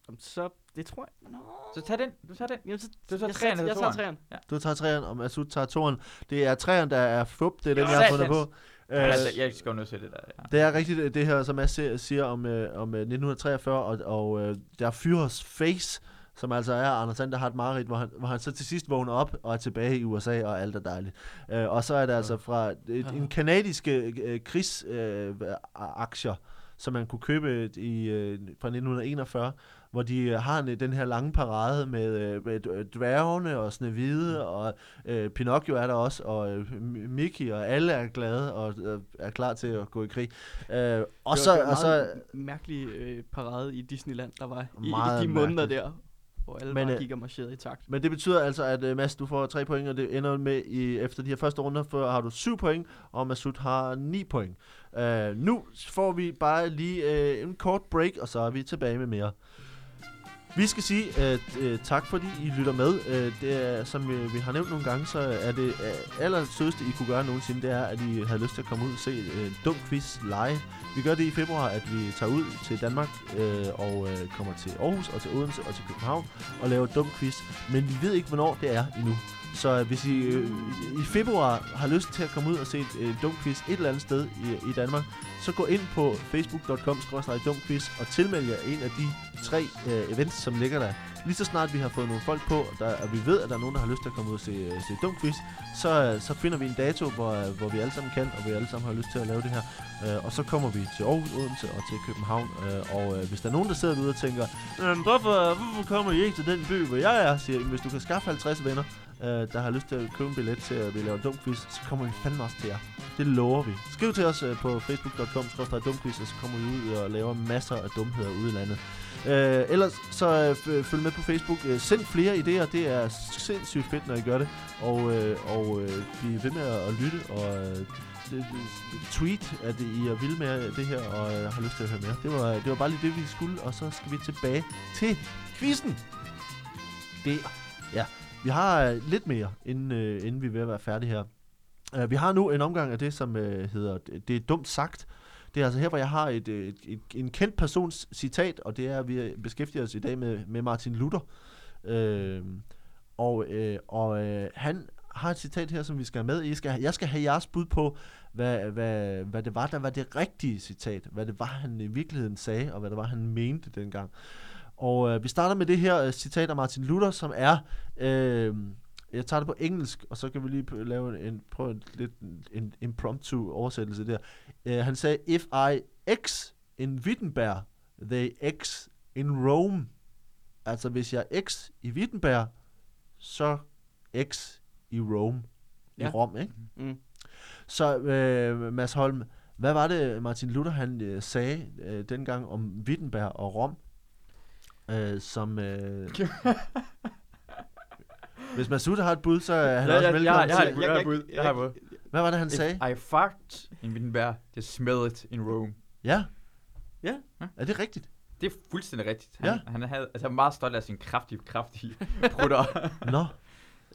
Speaker 3: Jamen, Så det tror jeg... Nå.
Speaker 2: Så tag den, du tager den.
Speaker 3: Jamen, så,
Speaker 2: Du tager
Speaker 3: jeg,
Speaker 2: træerne,
Speaker 3: jeg,
Speaker 2: eller
Speaker 3: jeg tager
Speaker 2: toeren?
Speaker 3: træerne.
Speaker 1: Du tager træeren, og Masud tager toren. Det er træeren, der er fup, det er den,
Speaker 2: Ja,
Speaker 1: jeg har fundet
Speaker 2: satans.
Speaker 1: på.
Speaker 2: Jeg,
Speaker 3: Altså,
Speaker 1: Øh,
Speaker 2: Altså, jeg skal jo nødt til det der. Ja.
Speaker 1: Det er rigtigt, øh, det her, som Mads siger- siger om, øh, om øh, 1943, og, og øh, der er Führers Face, som altså er Anders Sand, der har et mareridt, hvor han, hvor han så til sidst vågner op og er tilbage i USA, og alt er dejligt. Øh, og så er det altså fra et, en kanadisk øh, krigsaktier, øh, aktier, som man kunne købe i, øh, fra 1941, hvor de øh, har en, den her lange parade med, øh, med d- øh, dværgene og
Speaker 3: Mm.
Speaker 1: Snevide, og øh, Pinocchio er der også, og øh, M- Mickey, og alle er glade og øh, er klar til at gå i krig. Øh, og,
Speaker 3: det
Speaker 1: så,
Speaker 3: var, det var
Speaker 1: og så,
Speaker 3: en mærkelig øh, parade i Disneyland, der var i,
Speaker 1: Meget
Speaker 3: i de måneder
Speaker 1: mærkeligt.
Speaker 3: der, hvor
Speaker 1: Men,
Speaker 3: alle Men,
Speaker 1: øh,
Speaker 3: bare gik og marcherede i takt.
Speaker 1: men det betyder altså, at øh, Mads, du får tre point, og det ender med, i, efter de her første runder, for har du syv point, og Masud har ni point. Øh, nu får vi bare lige øh, en kort break, og så er vi tilbage med mere. Vi skal sige at, øh, tak, fordi I lytter med. Øh, det er, som øh, vi har nævnt nogle gange, så er det øh, allersødeste, I kunne gøre nogensinde, det er, at I havde lyst til at komme ud og se øh, en dum quiz live. Vi gør det i februar, at vi tager ud til Danmark øh, og øh, kommer til Aarhus og til Odense og til København og laver dum quiz. Men vi ved ikke, hvornår det er endnu. Så øh, hvis I øh, i februar har lyst til at komme ud og se et øh, dum quiz et eller andet sted i, i Danmark, så gå ind på facebook.com dumquiz og tilmeld jer en af de tre øh, events, som ligger der. Lige så snart vi har fået nogle folk på, og der, og vi ved, at der er nogen, der har lyst til at komme ud og se, øh, se dum quiz, så, øh, så finder vi en dato, hvor, øh, hvor vi alle sammen kan, og vi alle sammen har lyst til at lave det her. Øh, og så kommer vi til Aarhus, Odense og til København. Øh, og øh, hvis der er nogen, der sidder derude og tænker, "Jamen, Øhm, hvorfor, hvorfor kommer I ikke til den by, hvor jeg er? Siger, jeg, hvis du kan skaffe 50 venner, øh, der har lyst til at købe en billet til, at vi laver dum quiz, så kommer vi fandme også til jer. Det lover vi. Skriv til os øh, på facebook.com dumquiz, og så kommer vi ud og laver masser af dumheder ude i landet. Øh, ellers så øh, f- følg med på Facebook. Øh, send flere idéer. Det er sindssygt fedt, når I gør det. Og, øh, og øh, bliv ved med at, at lytte og øh, øh, øh, tweet, at I er vilde med det her og øh, har lyst til at høre mere. Det var, det var bare lige det, vi skulle, og så skal vi tilbage til quizzen. Det, ja. Vi har øh, lidt mere, inden, øh, inden vi er ved at være færdige her. Uh, vi har nu en omgang af det, som øh, hedder Det er dumt sagt. Det er altså her, hvor jeg har et, øh, et, et, en kendt persons citat, og det er, at vi beskæftiger os i dag med, med Martin Luther. Øh, og øh, og øh, han har et citat her, som vi skal have med. I skal, jeg skal have jeres bud på, hvad, hvad, hvad det var, der var det rigtige citat. Hvad det var, han i virkeligheden sagde, og hvad det var, han mente dengang. Og øh, vi starter med det her øh, citat af Martin Luther, som er... Øh, jeg tager det på engelsk, og så kan vi lige p- lave en, Øh, prøve en, lidt en impromptu oversættelse der. Uh, han sagde, if I X in Wittenberg, they ex in Rome. Altså, hvis jeg er ex i Wittenberg, så ex i Rome. I
Speaker 3: Ja.
Speaker 1: Rom, ikke?
Speaker 3: Mm.
Speaker 1: Så øh, Mads Holm, hvad var det, Martin Luther han øh, sagde øh, dengang om Wittenberg og Rom? Øh, som... Øh, hvis Mads Luther har et bud, så er han
Speaker 2: Ja,
Speaker 1: også
Speaker 2: ja,
Speaker 1: velkommen
Speaker 2: jeg har et
Speaker 1: til.
Speaker 2: bud, jeg har et bud, jeg har et bud.
Speaker 1: Hvad var det, han sagde?
Speaker 2: If I fucked in Wittenberg, they smell it in Rome.
Speaker 1: Ja.
Speaker 3: Ja.
Speaker 1: Er det rigtigt?
Speaker 2: Det er fuldstændig rigtigt. Han,
Speaker 1: Ja.
Speaker 2: han, havde, altså, han var meget stolt af sin kraftige, kraftige prutter.
Speaker 1: Nå.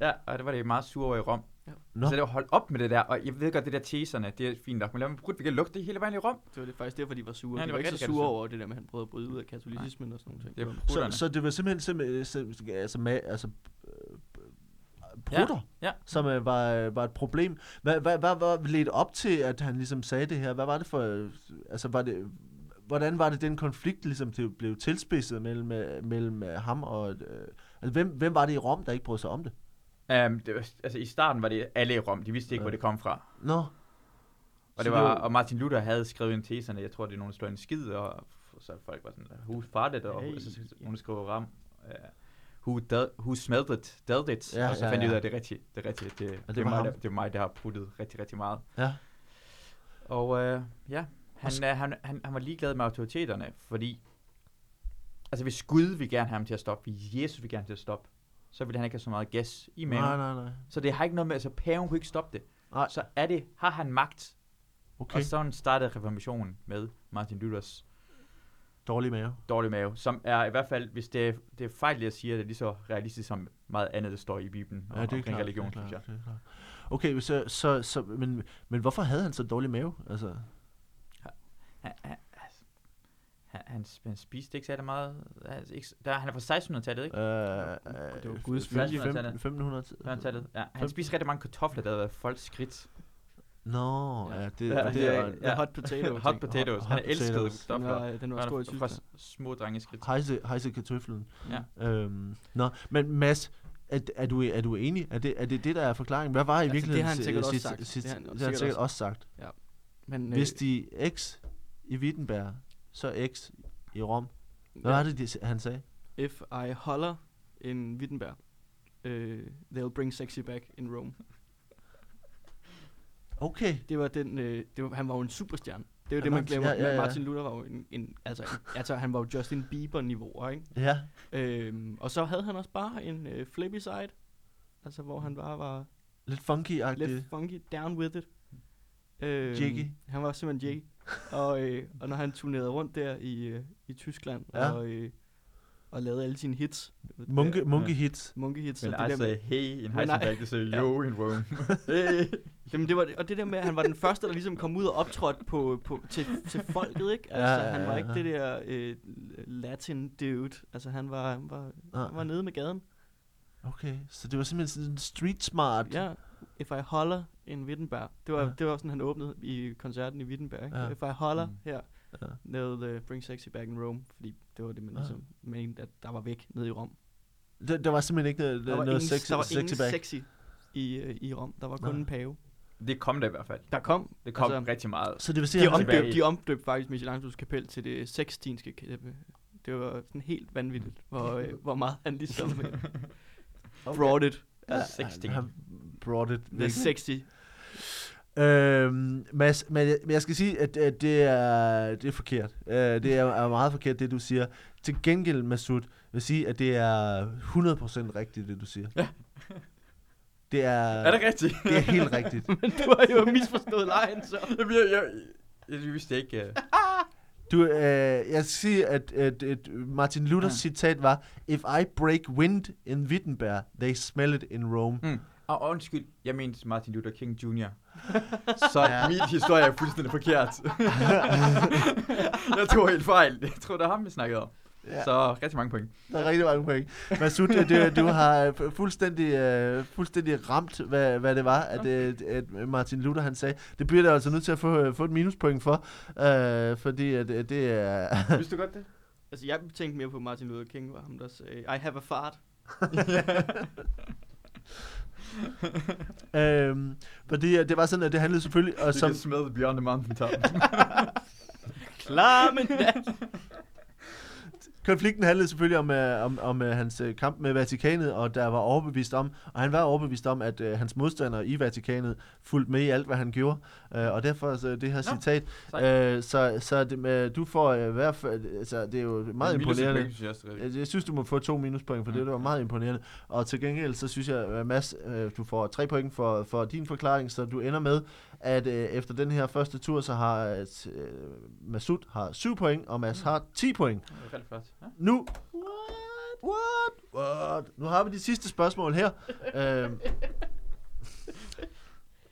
Speaker 2: ja, og det var det meget sur over i Rom.
Speaker 1: Nå.
Speaker 2: Så det var holdt op med det der, og jeg ved godt, det der teserne, det er fint nok, men lad mig bruge, vi kan lugte det hele vejen i Rom.
Speaker 3: Det var det faktisk derfor, de var
Speaker 2: Ja,
Speaker 3: sure. Ja, de
Speaker 2: det var
Speaker 3: var, ikke så
Speaker 2: rigtig
Speaker 3: sure
Speaker 2: godt,
Speaker 3: over det der med, at han prøvede at bryde ud af katolicismen og sådan nogle ting.
Speaker 2: Det er
Speaker 1: Så,
Speaker 2: prutterne.
Speaker 1: så det var simpelthen, simpelthen, simpelthen altså, ma- altså øh, brutter,
Speaker 2: Ja, ja.
Speaker 1: som øh, var, øh, var et problem. Hvad, hvad, hvad, hvad ledte op til, at han ligesom sagde det her? Hvad var det for, øh, altså var det, hvordan var det den konflikt ligesom det blev tilspidset mellem, øh, mellem øh, ham og, øh, altså hvem, hvem var det i Rom, der ikke brød sig om det?
Speaker 2: Um, det var, altså i starten var det alle i Rom, de vidste
Speaker 1: Ja.
Speaker 2: ikke, hvor det kom fra.
Speaker 1: Nå,
Speaker 2: Og,
Speaker 1: Så
Speaker 2: det var,
Speaker 1: det var-
Speaker 2: og Martin Luther havde skrevet en teserne, jeg tror, det er nogen, der står en skid, og så folk var sådan, who farted, og
Speaker 3: Hey.
Speaker 2: hey. så, så, så nogen skrev ram, uh, who, dead, who smelled it, dealt it,
Speaker 1: Ja,
Speaker 2: ja, og
Speaker 1: ja,
Speaker 2: så ja, fandt de
Speaker 1: ja.
Speaker 2: ud af, at det er rigtigt, det er rigtigt, det, det,
Speaker 1: var
Speaker 2: var mig,
Speaker 1: ham.
Speaker 2: der, det var mig, der har puttet rigtig, rigtig meget.
Speaker 1: ja,
Speaker 2: Og uh, ja, han,
Speaker 1: sk-
Speaker 2: uh, han, han, han var ligeglad med autoriteterne, fordi, altså hvis Gud vil gerne have ham til at stoppe, hvis Jesus vil gerne have ham til at stoppe, så ville han ikke have så meget gas i maven.
Speaker 1: nej, nej, nej,
Speaker 2: Så det har ikke noget med, altså paven kunne ikke stoppe det.
Speaker 1: Nej.
Speaker 2: Så er det, har han magt, okay.
Speaker 1: okay,
Speaker 2: og sådan startede reformationen med Martin Luthers
Speaker 1: dårlig mave.
Speaker 2: dårlig mave, som er i hvert fald, hvis det er, det er fejl, jeg siger, det er lige så realistisk som meget andet, der står i Bibelen og
Speaker 1: Ja, det er
Speaker 2: omkring
Speaker 1: klart,
Speaker 2: religion,
Speaker 1: det er
Speaker 2: synes jeg.
Speaker 1: klart, det er klart. Okay, så, så, så men, men hvorfor havde han så dårlig mave? Altså,
Speaker 2: Han, han, altså, han, han, han spiste ikke særlig meget. Altså, ikke, s- der, han er fra 1600-tallet, ikke?
Speaker 1: Øh,
Speaker 3: det var Guds
Speaker 2: vilje.
Speaker 1: 1500-tallet.
Speaker 2: 1600-tallet. Ja, han spiste rigtig mange kartofler, der havde været folks skridt.
Speaker 1: Nå, ja, det,
Speaker 2: Ja,
Speaker 1: det er...
Speaker 2: ja.
Speaker 3: hot potato.
Speaker 2: Hot potatoes.
Speaker 1: Hot
Speaker 2: Han elskede
Speaker 1: potatoes.
Speaker 3: Den
Speaker 2: kartofler.
Speaker 3: var, den var
Speaker 2: Han
Speaker 3: stor i
Speaker 2: er fra
Speaker 3: Tyskland.
Speaker 2: s- små drengeskridt.
Speaker 1: Hejse, hejse kartøflen.
Speaker 2: Ja.
Speaker 1: Øhm, nå, men Mads, er, er, du, er du enig? Er det, er det det, der er forklaringen? Hvad var i
Speaker 3: Altså, det
Speaker 1: virkeligheden?
Speaker 3: har han
Speaker 1: si-
Speaker 3: sikkert også
Speaker 1: sidst-
Speaker 3: sagt.
Speaker 1: sidst-
Speaker 3: Det har
Speaker 1: Det
Speaker 3: han
Speaker 1: har han
Speaker 3: sikkert
Speaker 1: sikkert
Speaker 3: også-
Speaker 1: også sagt.
Speaker 3: Men, øh,
Speaker 1: Hvis de X i Wittenberg, så X i Rom. Hvad
Speaker 3: ja.
Speaker 1: var det, de- han sagde?
Speaker 3: If I holler in Wittenberg, øh, they'll bring sexy back in Rome.
Speaker 1: Okay.
Speaker 3: Det var den, øh, det var, han var jo en superstjerne. Det er jo
Speaker 1: Ja,
Speaker 3: det, man
Speaker 1: nok.
Speaker 3: glemmer.
Speaker 1: Ja, ja, ja.
Speaker 3: Martin Luther var jo en, en altså, en- altså, han var jo Justin Bieber-niveau, ikke?
Speaker 1: Ja.
Speaker 3: Øhm, og så havde han også bare en øh, flippy side, altså hvor han bare var
Speaker 1: Lidt funky-agtigt.
Speaker 3: lidt funky, down with it. Øhm,
Speaker 1: Jiggy.
Speaker 3: Han var simpelthen jiggy. og, øh, og når han turnerede rundt der i, øh, i Tyskland
Speaker 1: Ja.
Speaker 3: og, øh, og lavede alle sine hits.
Speaker 1: Munke, munke hits.
Speaker 3: Munke hits.
Speaker 2: Men I sagde, hey, en
Speaker 3: Men nej.
Speaker 2: Heisenberg, det sagde,
Speaker 3: Ja.
Speaker 2: yo, in Rome.
Speaker 3: Jamen, det var det, og det der med, at han var den første, der ligesom kom ud og optrådte på, på, til, til folket, ikke? Altså,
Speaker 1: Ja, ja,
Speaker 3: han var
Speaker 1: ja,
Speaker 3: ikke
Speaker 1: ja.
Speaker 3: det der øh, latin dude. Altså, han var, han var, han var
Speaker 1: Ah,
Speaker 3: nede med gaden.
Speaker 1: okay, så det var simpelthen sådan en street smart.
Speaker 3: Ja, If I Holler in Wittenberg. Det var,
Speaker 1: Ja.
Speaker 3: ja. det var sådan, han åbnede i koncerten i Wittenberg. Ikke?
Speaker 1: Ja.
Speaker 3: Ja. If I Holler
Speaker 2: Mm.
Speaker 3: mm. her,
Speaker 1: Ja.
Speaker 3: nede uh, Bring Sexy Back in Rome. Fordi det var det, man
Speaker 1: Ja.
Speaker 3: ligesom mente, at der var væk nede i Rom.
Speaker 1: Der, der var simpelthen ikke noget,
Speaker 3: Der var,
Speaker 1: noget
Speaker 3: ingen,
Speaker 1: sexy,
Speaker 3: der var
Speaker 1: sexy
Speaker 3: ingen
Speaker 1: back.
Speaker 3: sexy i, øh, i Rom. Der var kun
Speaker 1: Nej.
Speaker 3: en pave.
Speaker 2: det kom der i hvert fald.
Speaker 3: Der kom.
Speaker 2: Det kom
Speaker 3: Altså,
Speaker 2: rigtig meget.
Speaker 1: Så det vil sige,
Speaker 3: De
Speaker 1: at han-
Speaker 2: tilbage
Speaker 3: omdøbte,
Speaker 2: i-
Speaker 3: de omdøbte faktisk Michelangelos kapel til det sextinske kapel. Det var sådan helt vanvittigt, hvor, øh, hvor meget han ligesom øh, brought it.
Speaker 2: Ja,
Speaker 1: han-
Speaker 2: sexting.
Speaker 1: Han brought it.
Speaker 3: The sexy.
Speaker 1: Øhm, Mads, men jeg, men jeg skal sige, at, at det, er, det er forkert. Øh, det er, er meget forkert, det du siger. Til gengæld, Masud, vil sige, at det er 100% rigtigt, det du siger.
Speaker 2: Ja.
Speaker 1: Det er,
Speaker 2: Er det rigtigt?
Speaker 1: det er helt rigtigt.
Speaker 3: Men du har jo misforstået lejen, så.
Speaker 2: Jamen, jeg, jeg, jeg, jeg vidste ikke. Uh...
Speaker 1: Du, øh, jeg skal sige, at, at, at Martin Luthers
Speaker 2: Ja.
Speaker 1: citat var, If I break wind in Wittenberg, they smell it in Rome.
Speaker 2: Mm. Og undskyld, jeg mente Martin Luther King Jr. Så
Speaker 1: Ja.
Speaker 2: ja. min historie er fuldstændig forkert. jeg tog helt fejl. Jeg tror, det er ham, vi snakkede om.
Speaker 1: Ja.
Speaker 2: Ja. Så rigtig mange point.
Speaker 1: Der er rigtig mange point. Masud, du, du har øh, fu- fuldstændig, øh, fuldstændig ramt, hvad, hvad det var, at, øh, at Martin Luther han sagde. Det bliver der altså nødt til at få, øh, få et minuspoint for, øh, fordi at, øh, det er...
Speaker 2: Vidste du godt det?
Speaker 3: Altså, jeg tænkte mere på Martin Luther King, var ham der sagde, I have a fart.
Speaker 1: øhm, fordi øh, det var sådan, at det handlede selvfølgelig... Og
Speaker 2: Som
Speaker 1: som,
Speaker 2: smelled beyond the mountain top.
Speaker 3: Klar, men
Speaker 1: Konflikten handlede selvfølgelig om, øh, om, om øh, hans øh, kamp med Vatikanet, og der var overbevist om, og han var overbevist om, at øh, hans modstandere i Vatikanet fulgte med i alt, hvad han gjorde, øh, og derfor så det her
Speaker 2: Nå,
Speaker 1: citat. Øh, så så det, med, du får øh, i hvert fald, altså, det er jo meget imponerende. Altså, Jeg jeg synes, du må få to minuspoint for det.
Speaker 2: Ja.
Speaker 1: Det var meget imponerende. Og til gengæld, så synes jeg, at Mads, øh, du får tre point for, for din forklaring, så du ender med, at øh, efter den her første tur, så har øh, Masud har 7 point, og Mads har 10 point.
Speaker 2: Det er rigtig flot. Ja.
Speaker 1: Nu... What? What? What? Nu har vi de sidste spørgsmål her. øhm,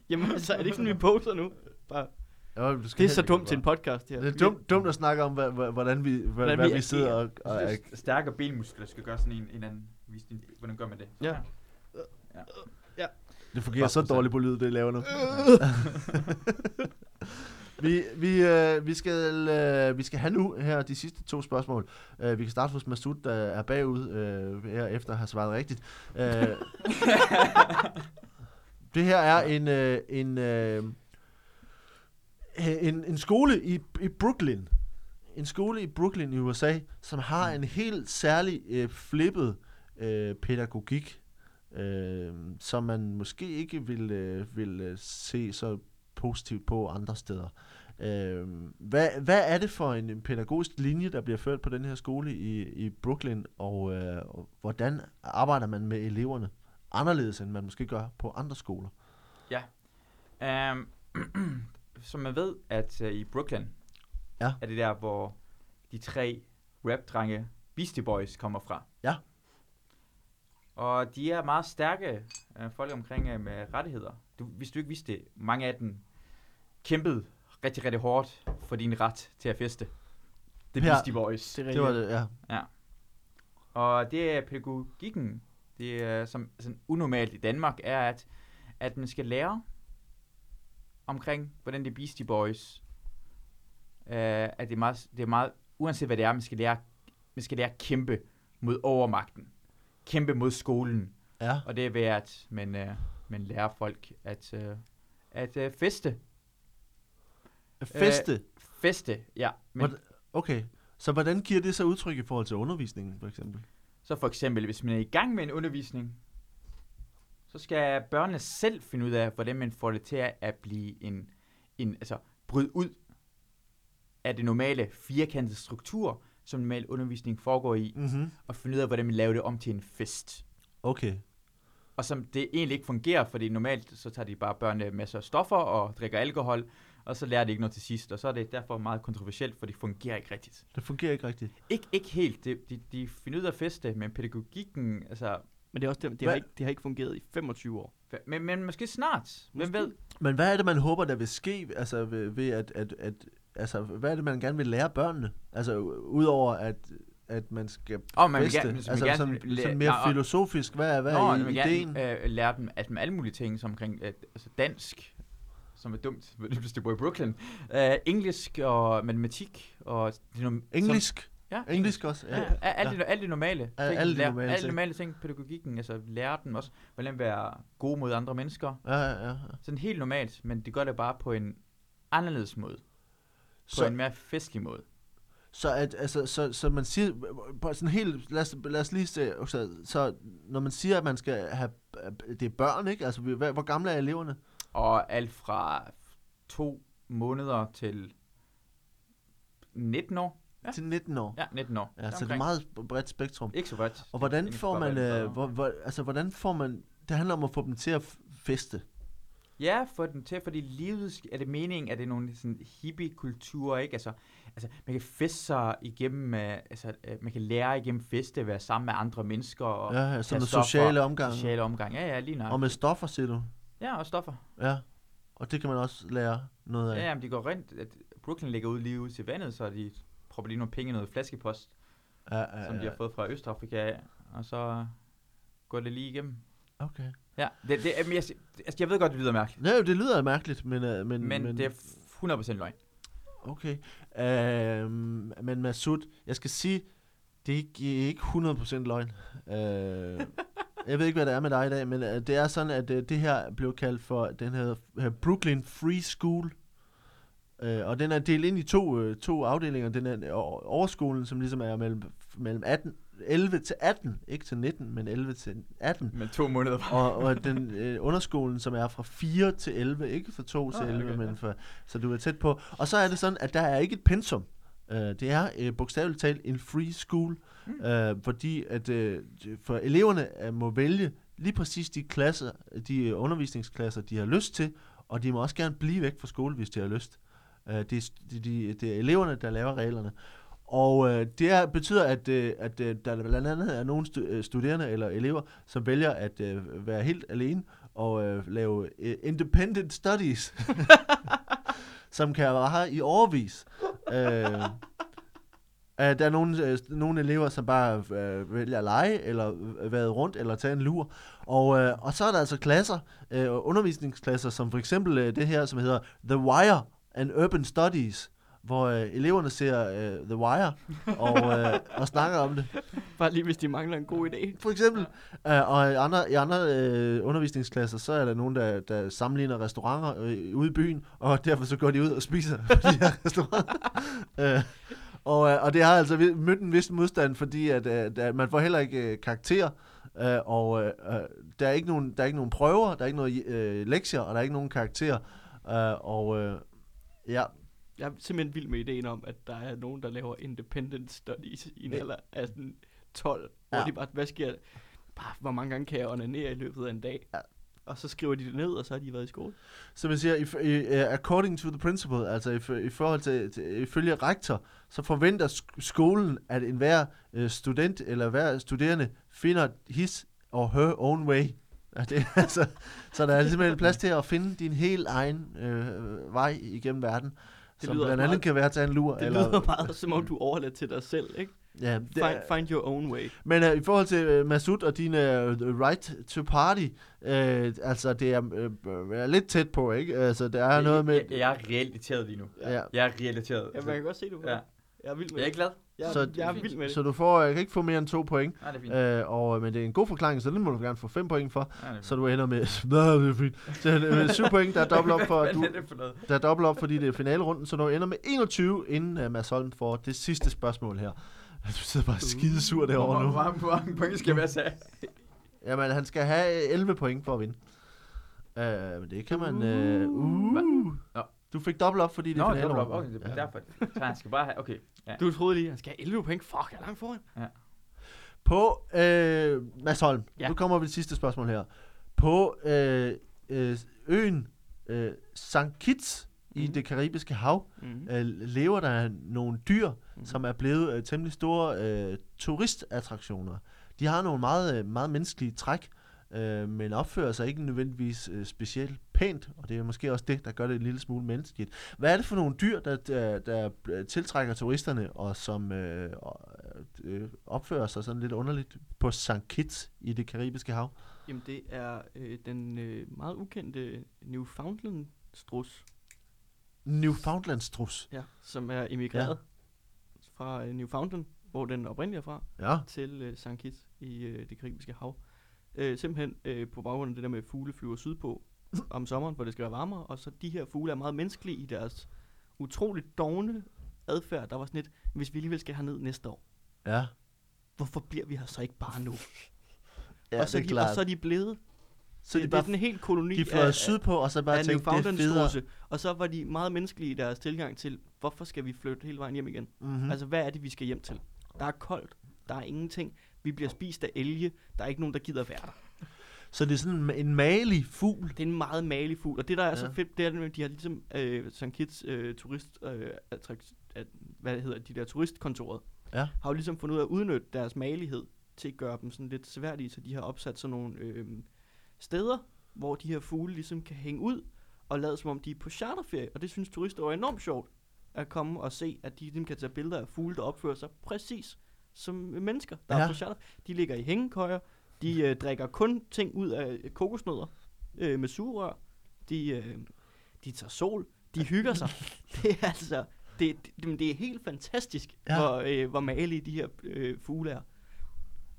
Speaker 3: Jamen altså, er det ikke sådan, vi poser nu? Bare.
Speaker 1: jo, du skal
Speaker 3: Det er
Speaker 1: heller
Speaker 3: så
Speaker 1: ikke-
Speaker 3: dumt til en podcast, det her.
Speaker 1: Det er dumt, dumt at snakke om, hva- hva- hvordan vi, hva-
Speaker 3: Hvordan
Speaker 1: hvad
Speaker 3: vi
Speaker 1: vi sidder og... og
Speaker 2: Jeg synes, Stærkere benmuskler skal gøre sådan en, en anden visning. Hvordan gør man det?
Speaker 3: Ja.
Speaker 1: Det fungerer så
Speaker 2: 40%.
Speaker 1: dårligt på lyd, det jeg laver nu. vi, vi, øh, vi, skal, øh, vi skal have nu her de sidste to spørgsmål. Øh, vi kan starte hos Masud, der er bagud øh, her efter at have svaret rigtigt. Øh, det her er en, øh, en, øh, en, en skole i, i Brooklyn. En skole i Brooklyn i USA, som har en helt særlig øh, flippet øh, pædagogik øh, som man måske ikke vil, øh, vil øh, se så positivt på andre steder. Øh, hvad, hvad er det for en, en pædagogisk linje, der bliver ført på den her skole i, i Brooklyn, og, øh, og hvordan arbejder man med eleverne anderledes, end man måske gør på andre skoler?
Speaker 2: Um, som man ved, at uh, i Brooklyn,
Speaker 1: Ja.
Speaker 2: er det der, hvor de tre rap-drenge Beastie Boys kommer fra.
Speaker 1: Ja.
Speaker 2: Og de er meget stærke uh, folk omkring uh, med rettigheder. Du, hvis du ikke vidste det, mange af dem kæmpede rigtig, rigtig hårdt for din ret til at feste. Det er
Speaker 1: Ja.
Speaker 2: Beastie Boys.
Speaker 3: Det er
Speaker 1: Det var det, ja.
Speaker 2: Og det er pædagogikken, det er, som sådan unormalt i Danmark, er, at, at man skal lære omkring, hvordan det er Beastie Boys. Uh, at det er, meget, det er meget, uanset hvad det er, man skal lære, man skal lære at kæmpe mod overmagten. Kæmpe mod skolen.
Speaker 1: ja.
Speaker 2: Og det er ved, at man, uh, man lærer folk at, uh, at uh, feste.
Speaker 1: Feste. Øh,
Speaker 2: Feste, ja. Men
Speaker 1: Hvordan- okay, så hvordan giver det så udtryk i forhold til undervisningen, for eksempel?
Speaker 2: Så for eksempel, hvis man er i gang med en undervisning, så skal børnene selv finde ud af, hvordan man får det til at blive en, en altså bryde ud af det normale firkantede struktur, som normal undervisning foregår i,
Speaker 1: Mm-hmm.
Speaker 2: og finde ud af, hvordan man laver det om til en fest.
Speaker 1: Okay,
Speaker 2: Og som det egentlig ikke fungerer, fordi normalt så tager de bare børnene masser af stoffer og drikker alkohol, og så lærer de ikke noget til sidst, og så er det derfor meget kontroversielt, for det fungerer ikke rigtigt.
Speaker 1: det fungerer ikke rigtigt.
Speaker 2: Ikke, ikke helt. De, de, de finder ud af at feste, men pædagogikken, altså
Speaker 3: Men det er også det, det, har
Speaker 1: Hvad?
Speaker 3: ikke, det har ikke fungeret i 25 år.
Speaker 2: Hva- Men, men måske snart. Hvem
Speaker 3: Måske.
Speaker 2: ved?
Speaker 1: Men hvad er det, man håber, der vil ske, altså ved, ved at, at, at, altså, hvad er det, man gerne vil lære børnene? Altså, u- udover at, at man skal
Speaker 2: Og man vil
Speaker 1: feste,
Speaker 2: gerne, hvis man
Speaker 1: altså
Speaker 2: gerne
Speaker 1: sådan,
Speaker 2: vil læ-
Speaker 1: sådan mere
Speaker 2: Nå, og-
Speaker 1: filosofisk, hvad er, hvad
Speaker 2: Nå,
Speaker 1: er
Speaker 2: man vil
Speaker 1: ideen?
Speaker 2: gerne øh, lære dem at med alle mulige ting, som omkring at, altså dansk, som er dumt, hvis du bor i Brooklyn, øh, engelsk og matematik. Og det nom-
Speaker 1: engelsk?
Speaker 2: Som, ja, engelsk.
Speaker 1: Engelsk også?
Speaker 2: Ja, ja, alt, det, alt det normale.
Speaker 1: Al-
Speaker 2: ting,
Speaker 1: alle de
Speaker 2: lære-
Speaker 1: normale
Speaker 2: alle
Speaker 1: ting.
Speaker 2: normale ting, pædagogikken, altså lære dem også, hvordan være gode mod andre mennesker.
Speaker 1: ja, ja, ja.
Speaker 2: Sådan helt normalt, men de gør det bare på en anderledes måde. På
Speaker 1: Så,
Speaker 2: en mere festlig måde.
Speaker 1: så, at, altså, så, så man siger, på sådan helt, lad os, lad os lige se, okay, så når man siger, at man skal have, det er børn, ikke? Altså, hvad, hvor gamle er eleverne?
Speaker 2: Og alt fra to måneder til 19 år. Ja.
Speaker 1: Til 19 år.
Speaker 2: Ja, 19 år.
Speaker 1: Ja, så det er
Speaker 2: Omkring.
Speaker 1: et meget bredt spektrum.
Speaker 2: Ikke så bredt.
Speaker 1: Og hvordan
Speaker 2: Det er
Speaker 1: får
Speaker 2: bare,
Speaker 1: man,
Speaker 2: hvad det er.
Speaker 1: øh, hvor, hvor, altså hvordan får man, det handler om at få dem til at f- feste.
Speaker 2: Ja, for den til, fordi livet sk- er det meningen, at det er nogle sådan hippie-kulturer, ikke? Altså, altså, man kan feste sig igennem, øh, altså, øh, man kan lære igennem feste, at være sammen med andre mennesker og
Speaker 1: Ja, ja,
Speaker 2: tage
Speaker 1: sådan noget
Speaker 2: stoffer.
Speaker 1: sociale omgang.
Speaker 2: sociale omgang. Ja, ja, lige nok.
Speaker 1: Og med stoffer, siger du.
Speaker 2: Ja, og stoffer.
Speaker 1: Ja. Og det kan man også lære noget af.
Speaker 2: Ja, ja, men de går rent, at Brooklyn ligger ud lige ud til vandet, så de propper lige nogle penge i noget flaskepost.
Speaker 1: ja, ja,
Speaker 2: som de har
Speaker 1: ja.
Speaker 2: fået fra Østafrika af, og så går det lige igennem.
Speaker 1: Okay.
Speaker 2: Ja, det, det, men jeg, altså, jeg ved godt, det lyder mærkeligt,
Speaker 1: Nej, det lyder mærkeligt, men... øh, men,
Speaker 2: men, men det er 100% løgn.
Speaker 1: Okay. Øhm, men Masud, jeg skal sige, det er ikke, ikke 100% løgn. Øh, jeg ved ikke, hvad det er med dig i dag, men øh, det er sådan, at øh, det her blev kaldt for den her, her Brooklyn Free School. Øh, og den er delt ind i to, øh, to afdelinger. Den er o- overskolen, som ligesom er mellem, mellem 18, 11 til 18, ikke til 19, men 11 til 18.
Speaker 2: Men to måneder var
Speaker 1: Og, og den øh, underskolen, som er fra 4 til 11, ikke fra 2 til
Speaker 2: Ah,
Speaker 1: 11,
Speaker 2: okay, ja.
Speaker 1: men fra, så du er tæt på. Og så er det sådan, at der er ikke et pensum. Øh, det er øh, bogstaveligt talt en free school,
Speaker 2: Mm.
Speaker 1: øh, fordi at, øh, for eleverne øh, må vælge lige præcis de klasser, de øh, undervisningsklasser, de har lyst til, og de må også gerne blive væk fra skole, hvis de har lyst. Øh, det, er, de, de, det er eleverne, der laver reglerne. Og øh, det er, betyder, at, øh, at øh, der blandt andet er nogle stu- øh, studerende eller elever, som vælger at øh, være helt alene og øh, lave øh, independent studies, som kan være her i overvis. Øh, Uh, der er nogle, øh, nogle elever, som bare øh, vælger at lege, eller øh, vade rundt, eller tage en lur. Og, øh, og så er der altså klasser, øh, undervisningsklasser, som for eksempel øh, det her, som hedder The Wire and Urban Studies, hvor øh, eleverne ser øh, The Wire og, øh, og snakker om det.
Speaker 3: Bare lige, hvis de mangler en god idé.
Speaker 1: For eksempel. Øh, og i andre, i andre øh, undervisningsklasser, så er der nogen, der, der sammenligner restauranter øh, ude i byen, og derfor så går de ud og spiser på de her restauranter. øh, og, øh, og det har altså vi- mødt en vis modstand, fordi at, øh, der, man får heller ikke øh, karakterer, øh, og øh, øh, der, er ikke nogen, der er ikke nogen prøver, der er ikke nogen øh, lektier, og der er ikke nogen karakterer. Øh, og øh, ja,
Speaker 3: Jeg er simpelthen vild med ideen om, at der er nogen, der laver independent studies i en
Speaker 1: Ja.
Speaker 3: alder af sådan 12. Ja.
Speaker 1: Ja.
Speaker 3: Hvor de bare, hvad sker der? Bare, hvor mange gange kan jeg onanere i løbet af en dag?
Speaker 1: Ja.
Speaker 3: Og så skriver de det ned, og så har de været i skole.
Speaker 1: Så man siger, if, i, uh, according to the principal, altså if, i forhold til, til, ifølge rektor, så forventer sk- skolen, at enhver uh, student eller hver studerende finder his or her own way. Ja, det, er altså, så der er simpelthen plads til at finde din helt egen øh, vej igennem verden. Det som
Speaker 3: lyder
Speaker 1: blandt
Speaker 3: også
Speaker 1: andet
Speaker 3: meget-
Speaker 1: kan være at tage en lur.
Speaker 3: Det Eller... lyder meget, som om du overlader til dig selv, ikke?
Speaker 1: ja,
Speaker 3: Find, find your own way.
Speaker 1: men øh, i forhold til øh, Masud og din øh, right to party, øh, altså det er øh, er lidt tæt på, ikke? Altså der er noget med...
Speaker 2: Jeg, jeg, jeg er reelt irriteret lige nu.
Speaker 1: Ja.
Speaker 2: Jeg er reelt irriteret.
Speaker 3: Ja, man kan godt se det på
Speaker 2: Ja.
Speaker 3: dig. Jeg er vild med
Speaker 2: Jeg er
Speaker 3: det.
Speaker 2: ikke glad.
Speaker 3: Jeg er,
Speaker 1: Så-
Speaker 3: jeg er
Speaker 2: fint.
Speaker 3: vild med det.
Speaker 1: Så du får, øh, kan ikke få mere end to point.
Speaker 2: Nej, det er fint.
Speaker 1: Øh, og, men det er en god forklaring, så den må du gerne få 5 point for.
Speaker 2: Nej, det er
Speaker 1: Så du ender med, Nå, det er fint. Så det er med 7 point, der er dobbelt op, for, at
Speaker 2: fint.
Speaker 1: du,
Speaker 2: Hvad er det for noget?
Speaker 1: der er dobbelt op, fordi det er finalerunden. Så du ender med 21, inden uh, Mads Holm får det sidste spørgsmål her. Du sidder bare skide sur derovre
Speaker 2: Hvor
Speaker 1: nu.
Speaker 2: mange- Hvor mange point skal jeg være sag?
Speaker 1: Jamen, han skal have øh, 11 point for at vinde. Øh, men det kan man... Øh, uh.
Speaker 2: Nå.
Speaker 1: Du fik dobbelt op, fordi det
Speaker 2: Nå,
Speaker 1: er
Speaker 2: det er
Speaker 1: finalerunden.
Speaker 2: okay, det er
Speaker 1: Ja.
Speaker 2: derfor. Så han skal bare have, okay.
Speaker 3: Du troede lige, han skal have 11 point. Fuck, jeg er langt foran.
Speaker 1: På, øh, Mads Holm, ja.
Speaker 3: Ja.
Speaker 1: nu kommer vi til det sidste spørgsmål her. På øh, øh, øen øh, St. Kitts i
Speaker 3: Mhm.
Speaker 1: det karibiske hav,
Speaker 3: Mm-hmm.
Speaker 1: øh, lever der nogle dyr, mm-hmm.
Speaker 3: Mhm.
Speaker 1: som er blevet øh, temmelig store øh, turistattraktioner. De har nogle meget, øh, meget menneskelige træk, øh, men opfører sig ikke nødvendigvis øh, specielt pænt, og det er måske også det, der gør det en lille smule menneskeligt. Hvad er det for nogle dyr, der, der, der øh, tiltrækker turisterne, og som øh, og, øh, opfører sig sådan lidt underligt på St. Kitts i det karibiske hav?
Speaker 3: Jamen, det er øh, den øh, meget ukendte Newfoundland-strus,
Speaker 1: Newfoundlandstrus.
Speaker 3: ja. som er emigreret ja. fra øh, Newfoundland, hvor den oprindeligt er fra,
Speaker 1: Ja.
Speaker 3: til øh, St. Kitts i øh, det karibiske hav. Øh, simpelthen øh, på baggrund af det der med, at fugle flyver sydpå om sommeren, hvor det skal være varmere, og så de her fugle er meget menneskelige i deres utroligt dogne adfærd. Der var sådan lidt, hvis vi alligevel skal herned næste år,
Speaker 1: Ja.
Speaker 3: hvorfor bliver vi her så ikke bare nu?
Speaker 1: Ja,
Speaker 3: og, så
Speaker 1: det er
Speaker 3: de, og
Speaker 1: klart.
Speaker 3: så er de blevet.
Speaker 1: så
Speaker 3: det,
Speaker 1: de
Speaker 3: det er
Speaker 1: bare
Speaker 3: sådan en hel koloni
Speaker 1: de fløj sydpå, og så bare
Speaker 3: af
Speaker 1: tænkte, det er federe.
Speaker 3: Newfoundland-struse. Og så var de meget menneskelige i deres tilgang til, hvorfor skal vi flytte hele vejen hjem igen? Mm.
Speaker 1: Mm-hmm.
Speaker 3: Altså, hvad er det, vi skal hjem til? Der er koldt. Der er ingenting. Vi bliver spist af elge. Der er ikke nogen, der gider være der.
Speaker 1: Så det er sådan en malig fugl.
Speaker 3: Det er en meget malig fugl. Og det, der er ja.
Speaker 1: Ja.
Speaker 3: så fedt, det er, at de har ligesom øh, St. Kitts øh, turist... Øh, attrakt, at, hvad hedder de der turistkontoret?
Speaker 1: Ja.
Speaker 3: Har jo ligesom fundet ud af at udnytte deres malighed til at gøre dem sådan lidt sværdige, så de har opsat sådan nogle øh, steder, hvor de her fugle ligesom kan hænge ud og lade som om de er på charterferie. Og det synes turister er enormt sjovt at komme og se, at de ligesom kan tage billeder af fugle, der opfører sig præcis som mennesker, der ja.
Speaker 1: Ja.
Speaker 3: er på charter. De ligger i hængekøjer, de øh, drikker kun ting ud af øh, kokosnødder øh, med sugerør, de, øh, de tager sol, de hygger sig. Det er altså, det, det, men det er helt fantastisk,
Speaker 1: Ja.
Speaker 3: ja. hvor, øh, hvor malige de her øh, fugle er.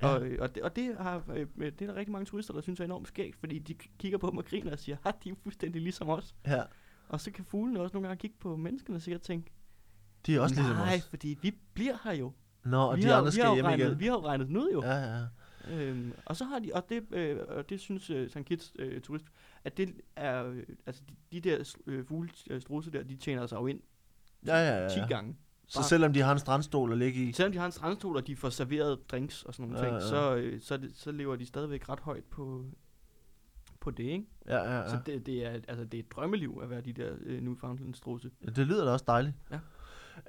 Speaker 1: Ja.
Speaker 3: Ja. Og, øh, og, det, og det, har, øh, det er der rigtig mange turister, der synes er enormt skægt, fordi de k- kigger på dem og griner og siger, at de er fuldstændig ligesom os.
Speaker 1: Ja.
Speaker 3: Og så kan fuglene også nogle gange kigge på menneskene og sikkert tænke,
Speaker 1: De er også ligesom
Speaker 3: nej,
Speaker 1: os.
Speaker 3: fordi vi bliver her jo.
Speaker 1: Nå, og
Speaker 3: vi
Speaker 1: de
Speaker 3: har,
Speaker 1: andre
Speaker 3: vi har
Speaker 1: skal
Speaker 3: jo
Speaker 1: hjem
Speaker 3: regnet,
Speaker 1: igen.
Speaker 3: Vi har jo regnet den ud jo.
Speaker 1: Ja, ja.
Speaker 3: Øhm, og så har de, og det, øh, og det synes øh, St. Kitts øh, turist, at det er, øh, altså de, de der s- øh, fuglestrusser der, de tjener sig jo ind
Speaker 1: Ja, ja, ja.
Speaker 3: 10
Speaker 1: ja.
Speaker 3: gange.
Speaker 1: Så selvom de har en strandstol at ligge i.
Speaker 3: Selvom de har en strandstol, og de får serveret drinks og sådan nogle
Speaker 1: Ja,
Speaker 3: ting,
Speaker 1: ja.
Speaker 3: Så, øh, så, er det- så lever de stadigvæk ret højt på, på det, ikke?
Speaker 1: Ja, ja,
Speaker 3: Ja.
Speaker 1: ja.
Speaker 3: Så det, det, er, altså, det er et drømmeliv at være de der øh, Newfoundland-struse.
Speaker 1: Ja, Det lyder da også dejligt.
Speaker 3: Ja.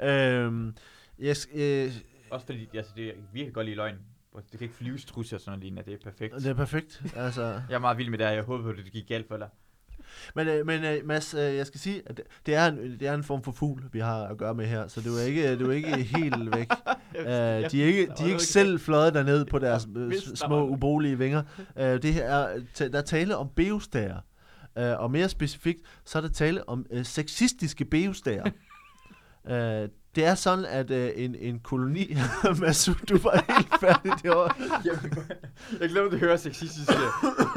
Speaker 1: Øhm, yes, øh,
Speaker 2: Også fordi, altså, det er virkelig godt lige løgn. Det kan ikke flyve strusser sådan noget lignende, det er perfekt.
Speaker 1: det er perfekt. altså.
Speaker 2: Jeg er meget vild med det her, jeg håber på, at det gik galt for dig.
Speaker 1: Men, øh, men øh, Mads, øh, jeg skal sige, at det- det er, en, det er en form for fugl, vi har at gøre med her, så du er ikke, du er ikke helt væk. Uh, de er ikke, de er ikke selv fløjet derned på deres øh,
Speaker 3: vidste, der
Speaker 1: s-
Speaker 3: var
Speaker 1: små
Speaker 3: noget.
Speaker 1: ubolige vinger. Uh, det her er, ta- der er tale om beostager. Uh, og mere specifikt, så er der tale om uh, sexistiske beostager. uh, det er sådan, at uh, en, en koloni... Mads, du var helt færdig det år.
Speaker 2: Jamen, jeg glemte at høre sexistisk.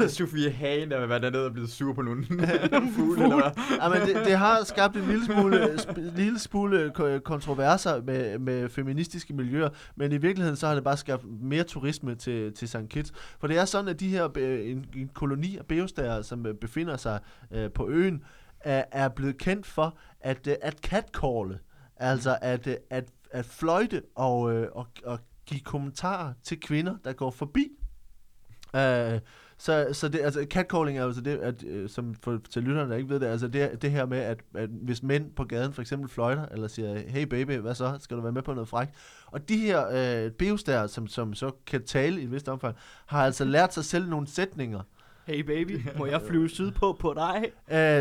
Speaker 2: øh, Sofie Hagen, der vil være dernede og blevet sur på nogen. nogle fugle, eller hvad?
Speaker 1: Ja, men det, det har skabt en lille smule, sp- lille smule ko- kontroverser med, med feministiske miljøer, men i virkeligheden så har det bare skabt mere turisme til, til St. Kitts. For det er sådan, at de her øh, en, en koloni af beostager, som øh, befinder sig øh, på øen, er, er blevet kendt for at, øh, at catcalle, altså at, øh, at, at fløjte og, øh, og, og give kommentarer til kvinder, der går forbi. Øh, så, så det, altså, catcalling er jo så det, at, øh, som for, til lytterne, der ikke ved det, altså det, det her med, at, at hvis mænd på gaden for eksempel fløjter, eller siger, hey baby, hvad så, skal du være med på noget frækt? Og de her øh, beostager, som, som så kan tale i et vist omfang, har altså lært sig selv nogle sætninger,
Speaker 3: Hey baby, må jeg flyve sydpå på dig?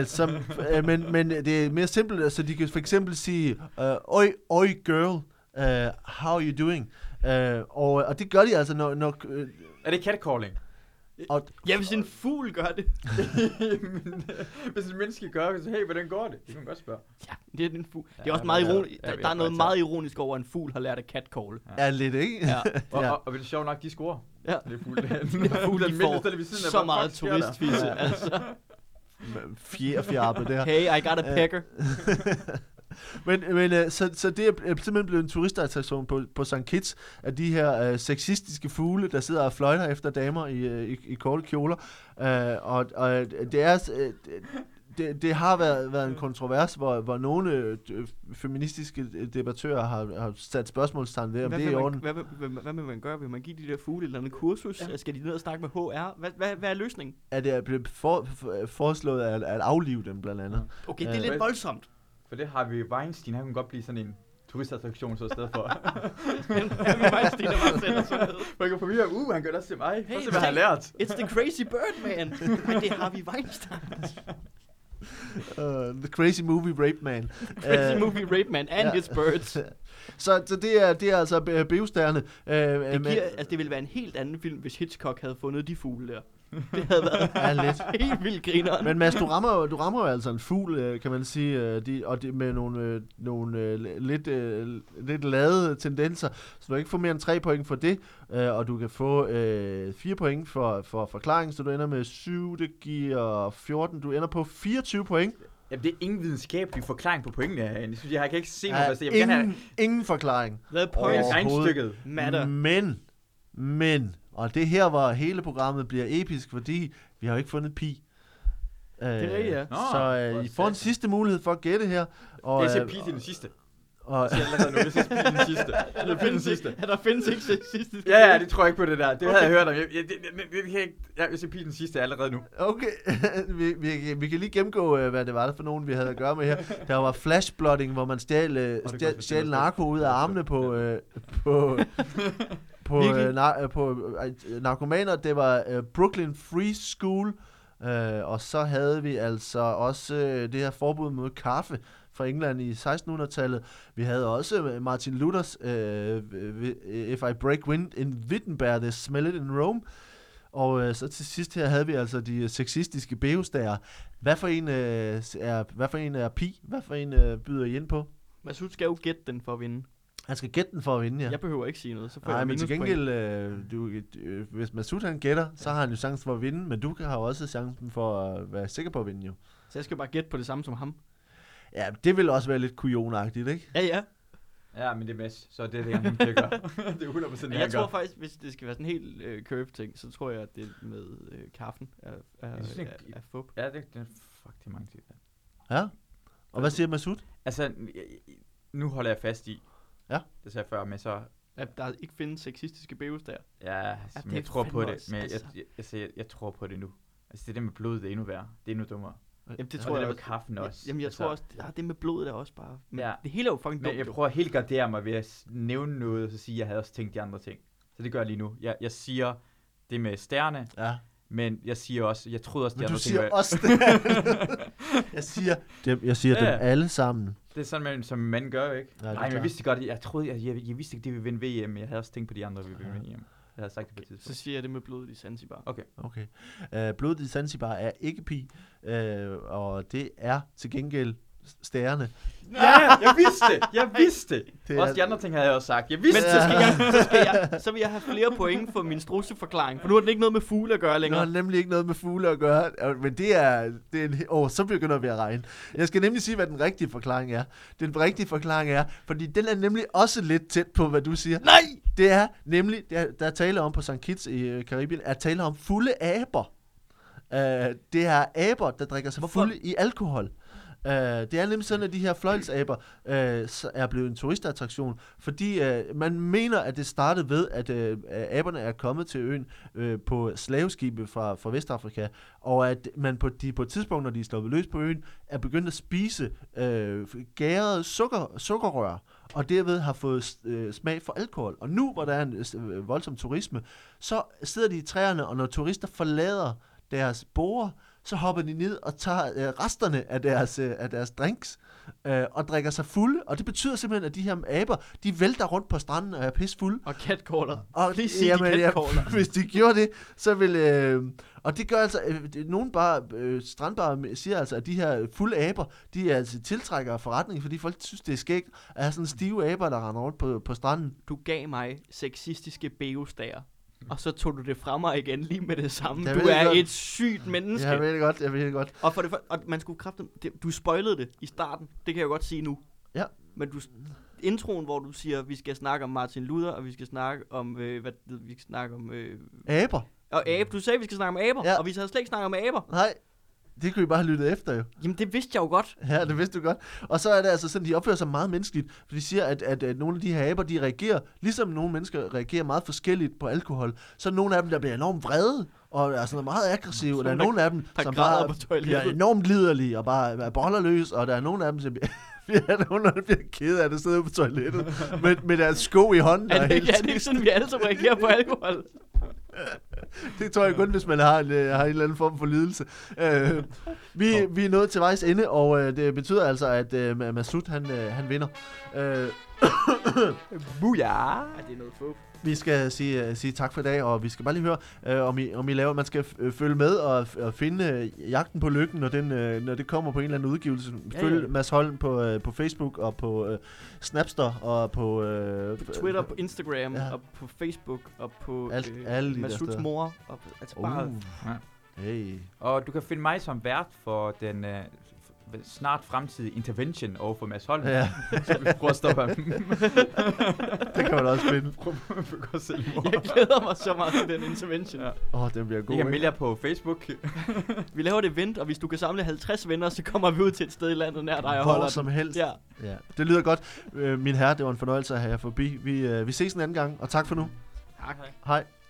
Speaker 1: øh, som, øh, men, men det er mere simpelt, altså de kan for eksempel sige, øh, oj, oj girl, øh, how are you doing? Øh, og, og det gør de altså, når, når øh,
Speaker 2: Er det catcalling?
Speaker 1: og,
Speaker 3: Ja, hvis en fugl gør det.
Speaker 2: Jamen, Hvis en menneske gør det, så hey, hvordan går det? Det kan man godt spørge.
Speaker 3: Ja, det er en fugl. Det er
Speaker 2: Ja,
Speaker 3: også meget
Speaker 2: ja,
Speaker 3: ironisk.
Speaker 2: ja,
Speaker 3: der,
Speaker 2: ja,
Speaker 3: der er noget
Speaker 2: ja.
Speaker 3: meget ironisk over, at en fugl har lært at catcalle.
Speaker 1: er lidt, ikke?
Speaker 3: Ja.
Speaker 2: Og,
Speaker 1: Ja.
Speaker 2: og, og det er sjovt nok, de scorer.
Speaker 3: Ja.
Speaker 2: Det er fuldt. det
Speaker 3: er fugle, de får så meget turistfisse. altså.
Speaker 1: Fjerfjarpe der.
Speaker 3: Hey, I got a
Speaker 1: Øh,
Speaker 3: pecker.
Speaker 1: Men, men øh, så, så det er øh, simpelthen blevet en turistattraktion på, på St. Kitts, at de her øh, sexistiske fugle, der sidder og fløjter efter damer i, øh, i, i korte kjoler. Øh, og, og øh, det er... Øh, det, det har været, været en kontrovers, hvor, hvor nogle øh, øh, feministiske debattører har, har sat spørgsmålstegn ved, om
Speaker 3: Hvad
Speaker 1: det er
Speaker 3: vil,
Speaker 1: i
Speaker 3: man,
Speaker 1: orden.
Speaker 3: hvad, vil, hvad, hvad vil man gøre? Vil man give de der fugle et eller andet kursus? Ja. Skal de ned og snakke med HR? Hvad, hvad, hvad er løsningen?
Speaker 1: Er det blevet for, for, foreslået at, at aflive dem, blandt andet?
Speaker 3: Okay, det er
Speaker 1: Øh,
Speaker 3: lidt voldsomt.
Speaker 2: For det har vi Weinstein, han kunne godt blive sådan en turistattraktion så i stedet for.
Speaker 3: Men Harvey Weinstein er bare selv og sådan noget.
Speaker 2: Man kan forvirre, uh, han gør det også til mig. Hey,
Speaker 3: Hey,
Speaker 2: Prøv at se, hvad han har lært.
Speaker 3: It's the crazy bird, man. Men det er Harvey Weinstein.
Speaker 1: Uh, the crazy movie Rape Man.
Speaker 3: Crazy
Speaker 1: Øh,
Speaker 3: movie rape man and
Speaker 1: ja.
Speaker 3: his birds.
Speaker 1: Så, så det, er, det er altså øh, beostærerne. Øh,
Speaker 3: Det,
Speaker 1: men-
Speaker 3: giver, altså, det ville være en helt anden film, hvis Hitchcock havde fundet de fugle der. Det havde været
Speaker 1: Ja, lidt.
Speaker 3: helt vildt grineren.
Speaker 1: Men Mads, du rammer, jo, du rammer jo altså en fugl, øh, kan man sige, øh, de, og det med nogle, øh, nogle øh, l- lidt, øh, lidt lade tendenser, så du ikke får mere end 3 point for det, øh, og du kan få øh, 4 point for, for forklaring, så du ender med 7, det giver 14, du ender på 24 point.
Speaker 2: Jamen, det er ingen videnskabelig forklaring på pointene herinde. Jeg synes, jeg kan ikke se mig,
Speaker 1: Ja,
Speaker 2: hvad jeg kan have.
Speaker 1: ingen, ingen forklaring.
Speaker 3: The
Speaker 2: Point
Speaker 3: point
Speaker 1: Åh. Mm.
Speaker 2: regnstykket.
Speaker 3: matter.
Speaker 1: Men, men, og det er her, hvor hele programmet bliver episk, fordi vi har jo ikke fundet pi. Øh,
Speaker 3: er rigtigt, ja.
Speaker 2: Nå,
Speaker 1: så
Speaker 2: for
Speaker 1: øh, I får en
Speaker 2: satan.
Speaker 1: sidste mulighed for at gætte her. Og,
Speaker 2: Det er til
Speaker 1: øh,
Speaker 2: pige til den sidste.
Speaker 1: og,
Speaker 2: Jeg siger allerede nu, det er til den sidste. Det er
Speaker 3: Der
Speaker 2: pige den
Speaker 3: findes
Speaker 2: sidste.
Speaker 3: ikke, der findes ikke sexistisk.
Speaker 2: Ja, ja, det tror jeg ikke på det der. Det havde jeg hørt om. Jeg, jeg, det, det, det, det kan jeg ikke... Jeg vil se pige den sidste allerede nu.
Speaker 1: Okay, vi, vi, vi kan lige gennemgå, øh, hvad det var for nogen, vi havde at gøre med her. Der var flashblotting, hvor man stjal, øh,
Speaker 2: godt,
Speaker 1: stjal,
Speaker 2: hvis det
Speaker 1: stjal
Speaker 2: var
Speaker 1: narko ud af armene på, øh, på, på, øh,
Speaker 3: Virkelig?
Speaker 1: nar, øh, på øh, narkomaner. Det var øh, Brooklyn Free School. Øh, og så havde vi altså også øh, det her forbud mod kaffe fra England i 1600-tallet. Vi havde også øh, Martin Luthers øh, øh, If I Break Wind in Wittenberg, They Smell It in Rome. Og øh, så til sidst her havde vi altså de øh, sexistiske beostager. Hvad for en, øh, er, hvad for en er pi? Hvad for en øh, byder I ind på?
Speaker 3: Masud skal jo gætte den for at vinde.
Speaker 1: Han skal gætte den for at vinde, ja.
Speaker 3: Jeg behøver ikke sige noget, så får
Speaker 1: Nej,
Speaker 3: jeg
Speaker 1: men til
Speaker 3: minuspoint.
Speaker 1: gengæld, øh, du, øh, hvis Masud han gætter, så har han jo chancen for at vinde, men du kan- har jo også chancen for at være sikker på at vinde jo.
Speaker 3: Så jeg skal bare gætte på det samme som ham.
Speaker 1: Ja, det ville også være lidt kujonagtigt, ikke?
Speaker 3: Ja, ja.
Speaker 2: Ja, men det er Mads, så det er det, han det gør. det er 100% det,
Speaker 3: Men jeg
Speaker 2: han
Speaker 3: tror
Speaker 2: gør.
Speaker 3: faktisk, hvis det skal være sådan en helt øh, curve-ting, så tror jeg, at det med øh, kaffen er, er,
Speaker 2: Jeg synes
Speaker 3: er,
Speaker 2: ikke-
Speaker 3: er fup.
Speaker 2: Ja, det, det, fuck, det er mange ting.
Speaker 1: Ja. Og hvad siger Masud?
Speaker 2: Altså, jeg- jeg- nu holder jeg fast i.
Speaker 1: Ja.
Speaker 2: Det sagde jeg før, men så...
Speaker 3: At der ikke findes sexistiske bæves der.
Speaker 2: Ja, altså, men
Speaker 3: det
Speaker 2: jeg
Speaker 3: er
Speaker 2: tror på
Speaker 3: fandme
Speaker 2: det.
Speaker 3: også,
Speaker 2: Men jeg,
Speaker 3: altså.
Speaker 2: jeg, altså, jeg, jeg, tror på det nu. Altså, det der med blod, det er endnu værre. Det er endnu dummere.
Speaker 3: Jamen, det
Speaker 2: Og
Speaker 3: tror
Speaker 2: det
Speaker 3: jeg
Speaker 2: der
Speaker 3: også.
Speaker 2: med kaffen også.
Speaker 3: Jamen, jeg
Speaker 2: altså,
Speaker 3: tror også, ja, det med blodet er også bare... Men
Speaker 2: Ja.
Speaker 3: Det hele er jo fucking dumt.
Speaker 2: Men jeg
Speaker 3: jo.
Speaker 2: prøver at helgardere mig ved at s- nævne noget, og så sige, at jeg havde også tænkt de andre ting. Så det gør jeg lige nu. Jeg, jeg siger det med stjerne,
Speaker 1: Ja.
Speaker 2: men jeg siger også, jeg troede også, de
Speaker 1: Men du
Speaker 2: andre
Speaker 1: siger
Speaker 2: ting. var-
Speaker 1: også det. jeg siger, dem, jeg siger
Speaker 2: Ja.
Speaker 1: dem alle sammen.
Speaker 2: Det er sådan, man, som man gør, ikke?
Speaker 1: Ja, det er
Speaker 2: Nej, men jeg
Speaker 1: klart.
Speaker 2: vidste godt, jeg troede, jeg, jeg, jeg vidste ikke, det ville vinde VM, men jeg havde også tænkt på de andre, vi ville
Speaker 1: Ja.
Speaker 2: vinde VM. Jeg havde sagt det på et
Speaker 3: Så
Speaker 2: tidspunkt.
Speaker 3: siger jeg det med blodet i Zanzibar.
Speaker 1: Okay. Uh, blodet i Zanzibar er ikke pi, uh, og det er til gengæld stærene.
Speaker 2: Ja, jeg vidste det! Jeg vidste det!
Speaker 1: Det er-
Speaker 2: Også de andre ting havde jeg også sagt. Jeg
Speaker 3: Men
Speaker 2: vidste
Speaker 3: så,
Speaker 2: det!
Speaker 3: skal jeg, så, skal jeg, så vil jeg have flere point for min struseforklaring, for nu har den ikke noget med fugle at gøre
Speaker 1: Det har
Speaker 3: længere.
Speaker 1: nemlig ikke noget med fugle at gøre, øh, men det er... Det er en, åh, så begynder vi at regne. Jeg skal nemlig sige, hvad den rigtige forklaring er. Den rigtige forklaring er, fordi den er nemlig også lidt tæt på, hvad du siger.
Speaker 3: Nej!
Speaker 1: Det er nemlig, der, der er tale om på St. Kitts i øh, Karibien, er tale om fulde aber. Uh, det er aber, der drikker sig
Speaker 3: Hvorfor?
Speaker 1: fulde i alkohol. Uh, det er nemlig sådan, at de her fløjlsaber uh, så er blevet en turistattraktion, fordi uh, man mener, at det startede ved, at uh, aberne er kommet til øen uh, på slaveskibe fra, fra Vestafrika, og at man på, de, på et tidspunkt, når de er sluppet løs på øen, er begyndt at spise øh, gærede sukker, sukkerrør, og derved har fået øh, smag for alkohol. Og nu, hvor der er en øh, voldsom turisme, så sidder de i træerne, og når turister forlader deres borer, så hopper de ned og tager øh, resterne af deres, øh, af deres drinks øh, og drikker sig fulde. Og det betyder simpelthen, at de her aber, de vælter rundt på stranden og er pissfulde.
Speaker 3: Og catcaller.
Speaker 1: Og
Speaker 3: Lige sige, de catcaller.
Speaker 1: hvis de gjorde det, så ville... Øh, og det gør altså... Øh, det- nogen bare, øh, strandbarer siger altså, at de her fulde aber, de er altså tiltrækker af forretning, fordi folk synes, det er skægt at have sådan stive aber, der render rundt på, på stranden.
Speaker 3: Du gav mig sexistiske bævestager, og så tog du det fra mig igen lige med det samme.
Speaker 1: Mm. Jeg
Speaker 3: Du
Speaker 1: ved
Speaker 3: er
Speaker 1: godt.
Speaker 3: et sygt menneske.
Speaker 1: Jeg ved det godt, jeg ved det godt.
Speaker 3: Og for det første, og man skulle kræfte, det, du spoilede det i starten, det kan jeg godt sige nu.
Speaker 1: Ja.
Speaker 3: Men du, introen, hvor du siger, vi skal snakke om Martin Luther, og vi skal snakke om, øh, hvad, hed- vi skal snakke om, øh,
Speaker 1: Aber?
Speaker 3: og abe, du sagde, vi skal snakke om aber,
Speaker 1: Mm. Ja.
Speaker 3: og vi havde slet ikke snakket om aber.
Speaker 1: Nej, det kunne I bare have lyttet efter jo.
Speaker 3: Jamen, det vidste jeg jo godt.
Speaker 1: Ja, det vidste du godt. Og så er det altså sådan, de opfører sig meget menneskeligt, for de siger, at, at, at nogle af de her aber, de reagerer, ligesom nogle mennesker reagerer meget forskelligt på alkohol, så er nogle af dem, der bliver enormt vrede, og er sådan meget aggressive, og der er
Speaker 3: Som der-
Speaker 1: nogle af dem,
Speaker 3: der
Speaker 1: som
Speaker 3: græder
Speaker 1: bare
Speaker 3: på toilettet.
Speaker 1: bliver enormt liderlige, og bare er bollerløs, og der er nogle af dem, som bliver, der er nogle af dem, der bliver ked af det, sidder på toilettet, med, med deres sko i hånden.
Speaker 3: Er
Speaker 1: og
Speaker 3: det,
Speaker 1: helt
Speaker 3: ikke, er det ikke sådan, vi alle sammen reagerer på alkohol?
Speaker 1: Det tror jeg kun, hvis man har en, øh, har en eller anden form for lidelse. Øh, vi, vi er nået til vejs ende, og øh, det betyder altså, at øh, Ma- Masud han, øh, han vinder. Øh,
Speaker 2: Buja!
Speaker 3: Ej, det er noget fup.
Speaker 1: vi skal sige, øh, sige tak for i dag, og vi skal bare lige høre, øh, om, I, om I laver, man skal f- øh, følge med og, f- og finde øh, jagten på lykken, når, den, øh, når det kommer på en eller anden udgivelse.
Speaker 3: Ja,
Speaker 1: Følg
Speaker 3: ja.
Speaker 1: Mads Holm på, øh, på Facebook og på øh, Snapster og på... Øh,
Speaker 3: På Twitter, på Instagram,
Speaker 1: Ja.
Speaker 3: ja. og på Facebook, og på
Speaker 1: Alt- alle de der
Speaker 3: Masuds
Speaker 1: steder.
Speaker 3: mor. Og, på- altså bare,
Speaker 1: Uh, hey.
Speaker 2: Og du kan finde mig som vært for den øh, f- snart fremtidige intervention over for Mads Holm. Ja.
Speaker 1: Ja,
Speaker 2: Så vi prøver at stoppe ham.
Speaker 1: det kan man også finde.
Speaker 2: Prøv at begå selvmord.
Speaker 3: jeg glæder mig så meget til den intervention.
Speaker 2: Ja.
Speaker 1: Åh, oh, den bliver god.
Speaker 2: I kan
Speaker 1: ikke?
Speaker 2: melde jer på Facebook.
Speaker 1: Uh.
Speaker 3: Vi laver et event, og hvis du kan samle 50 venner, så kommer vi ud til et sted i landet nær dig og
Speaker 1: Hvor
Speaker 3: holder den.
Speaker 1: som helst.
Speaker 3: Ja.
Speaker 1: Ja, det lyder godt. Øh, min herre, det var en fornøjelse at have jer forbi. Vi, øh, vi ses en anden gang, og tak for nu.
Speaker 3: Tak.
Speaker 1: Hej.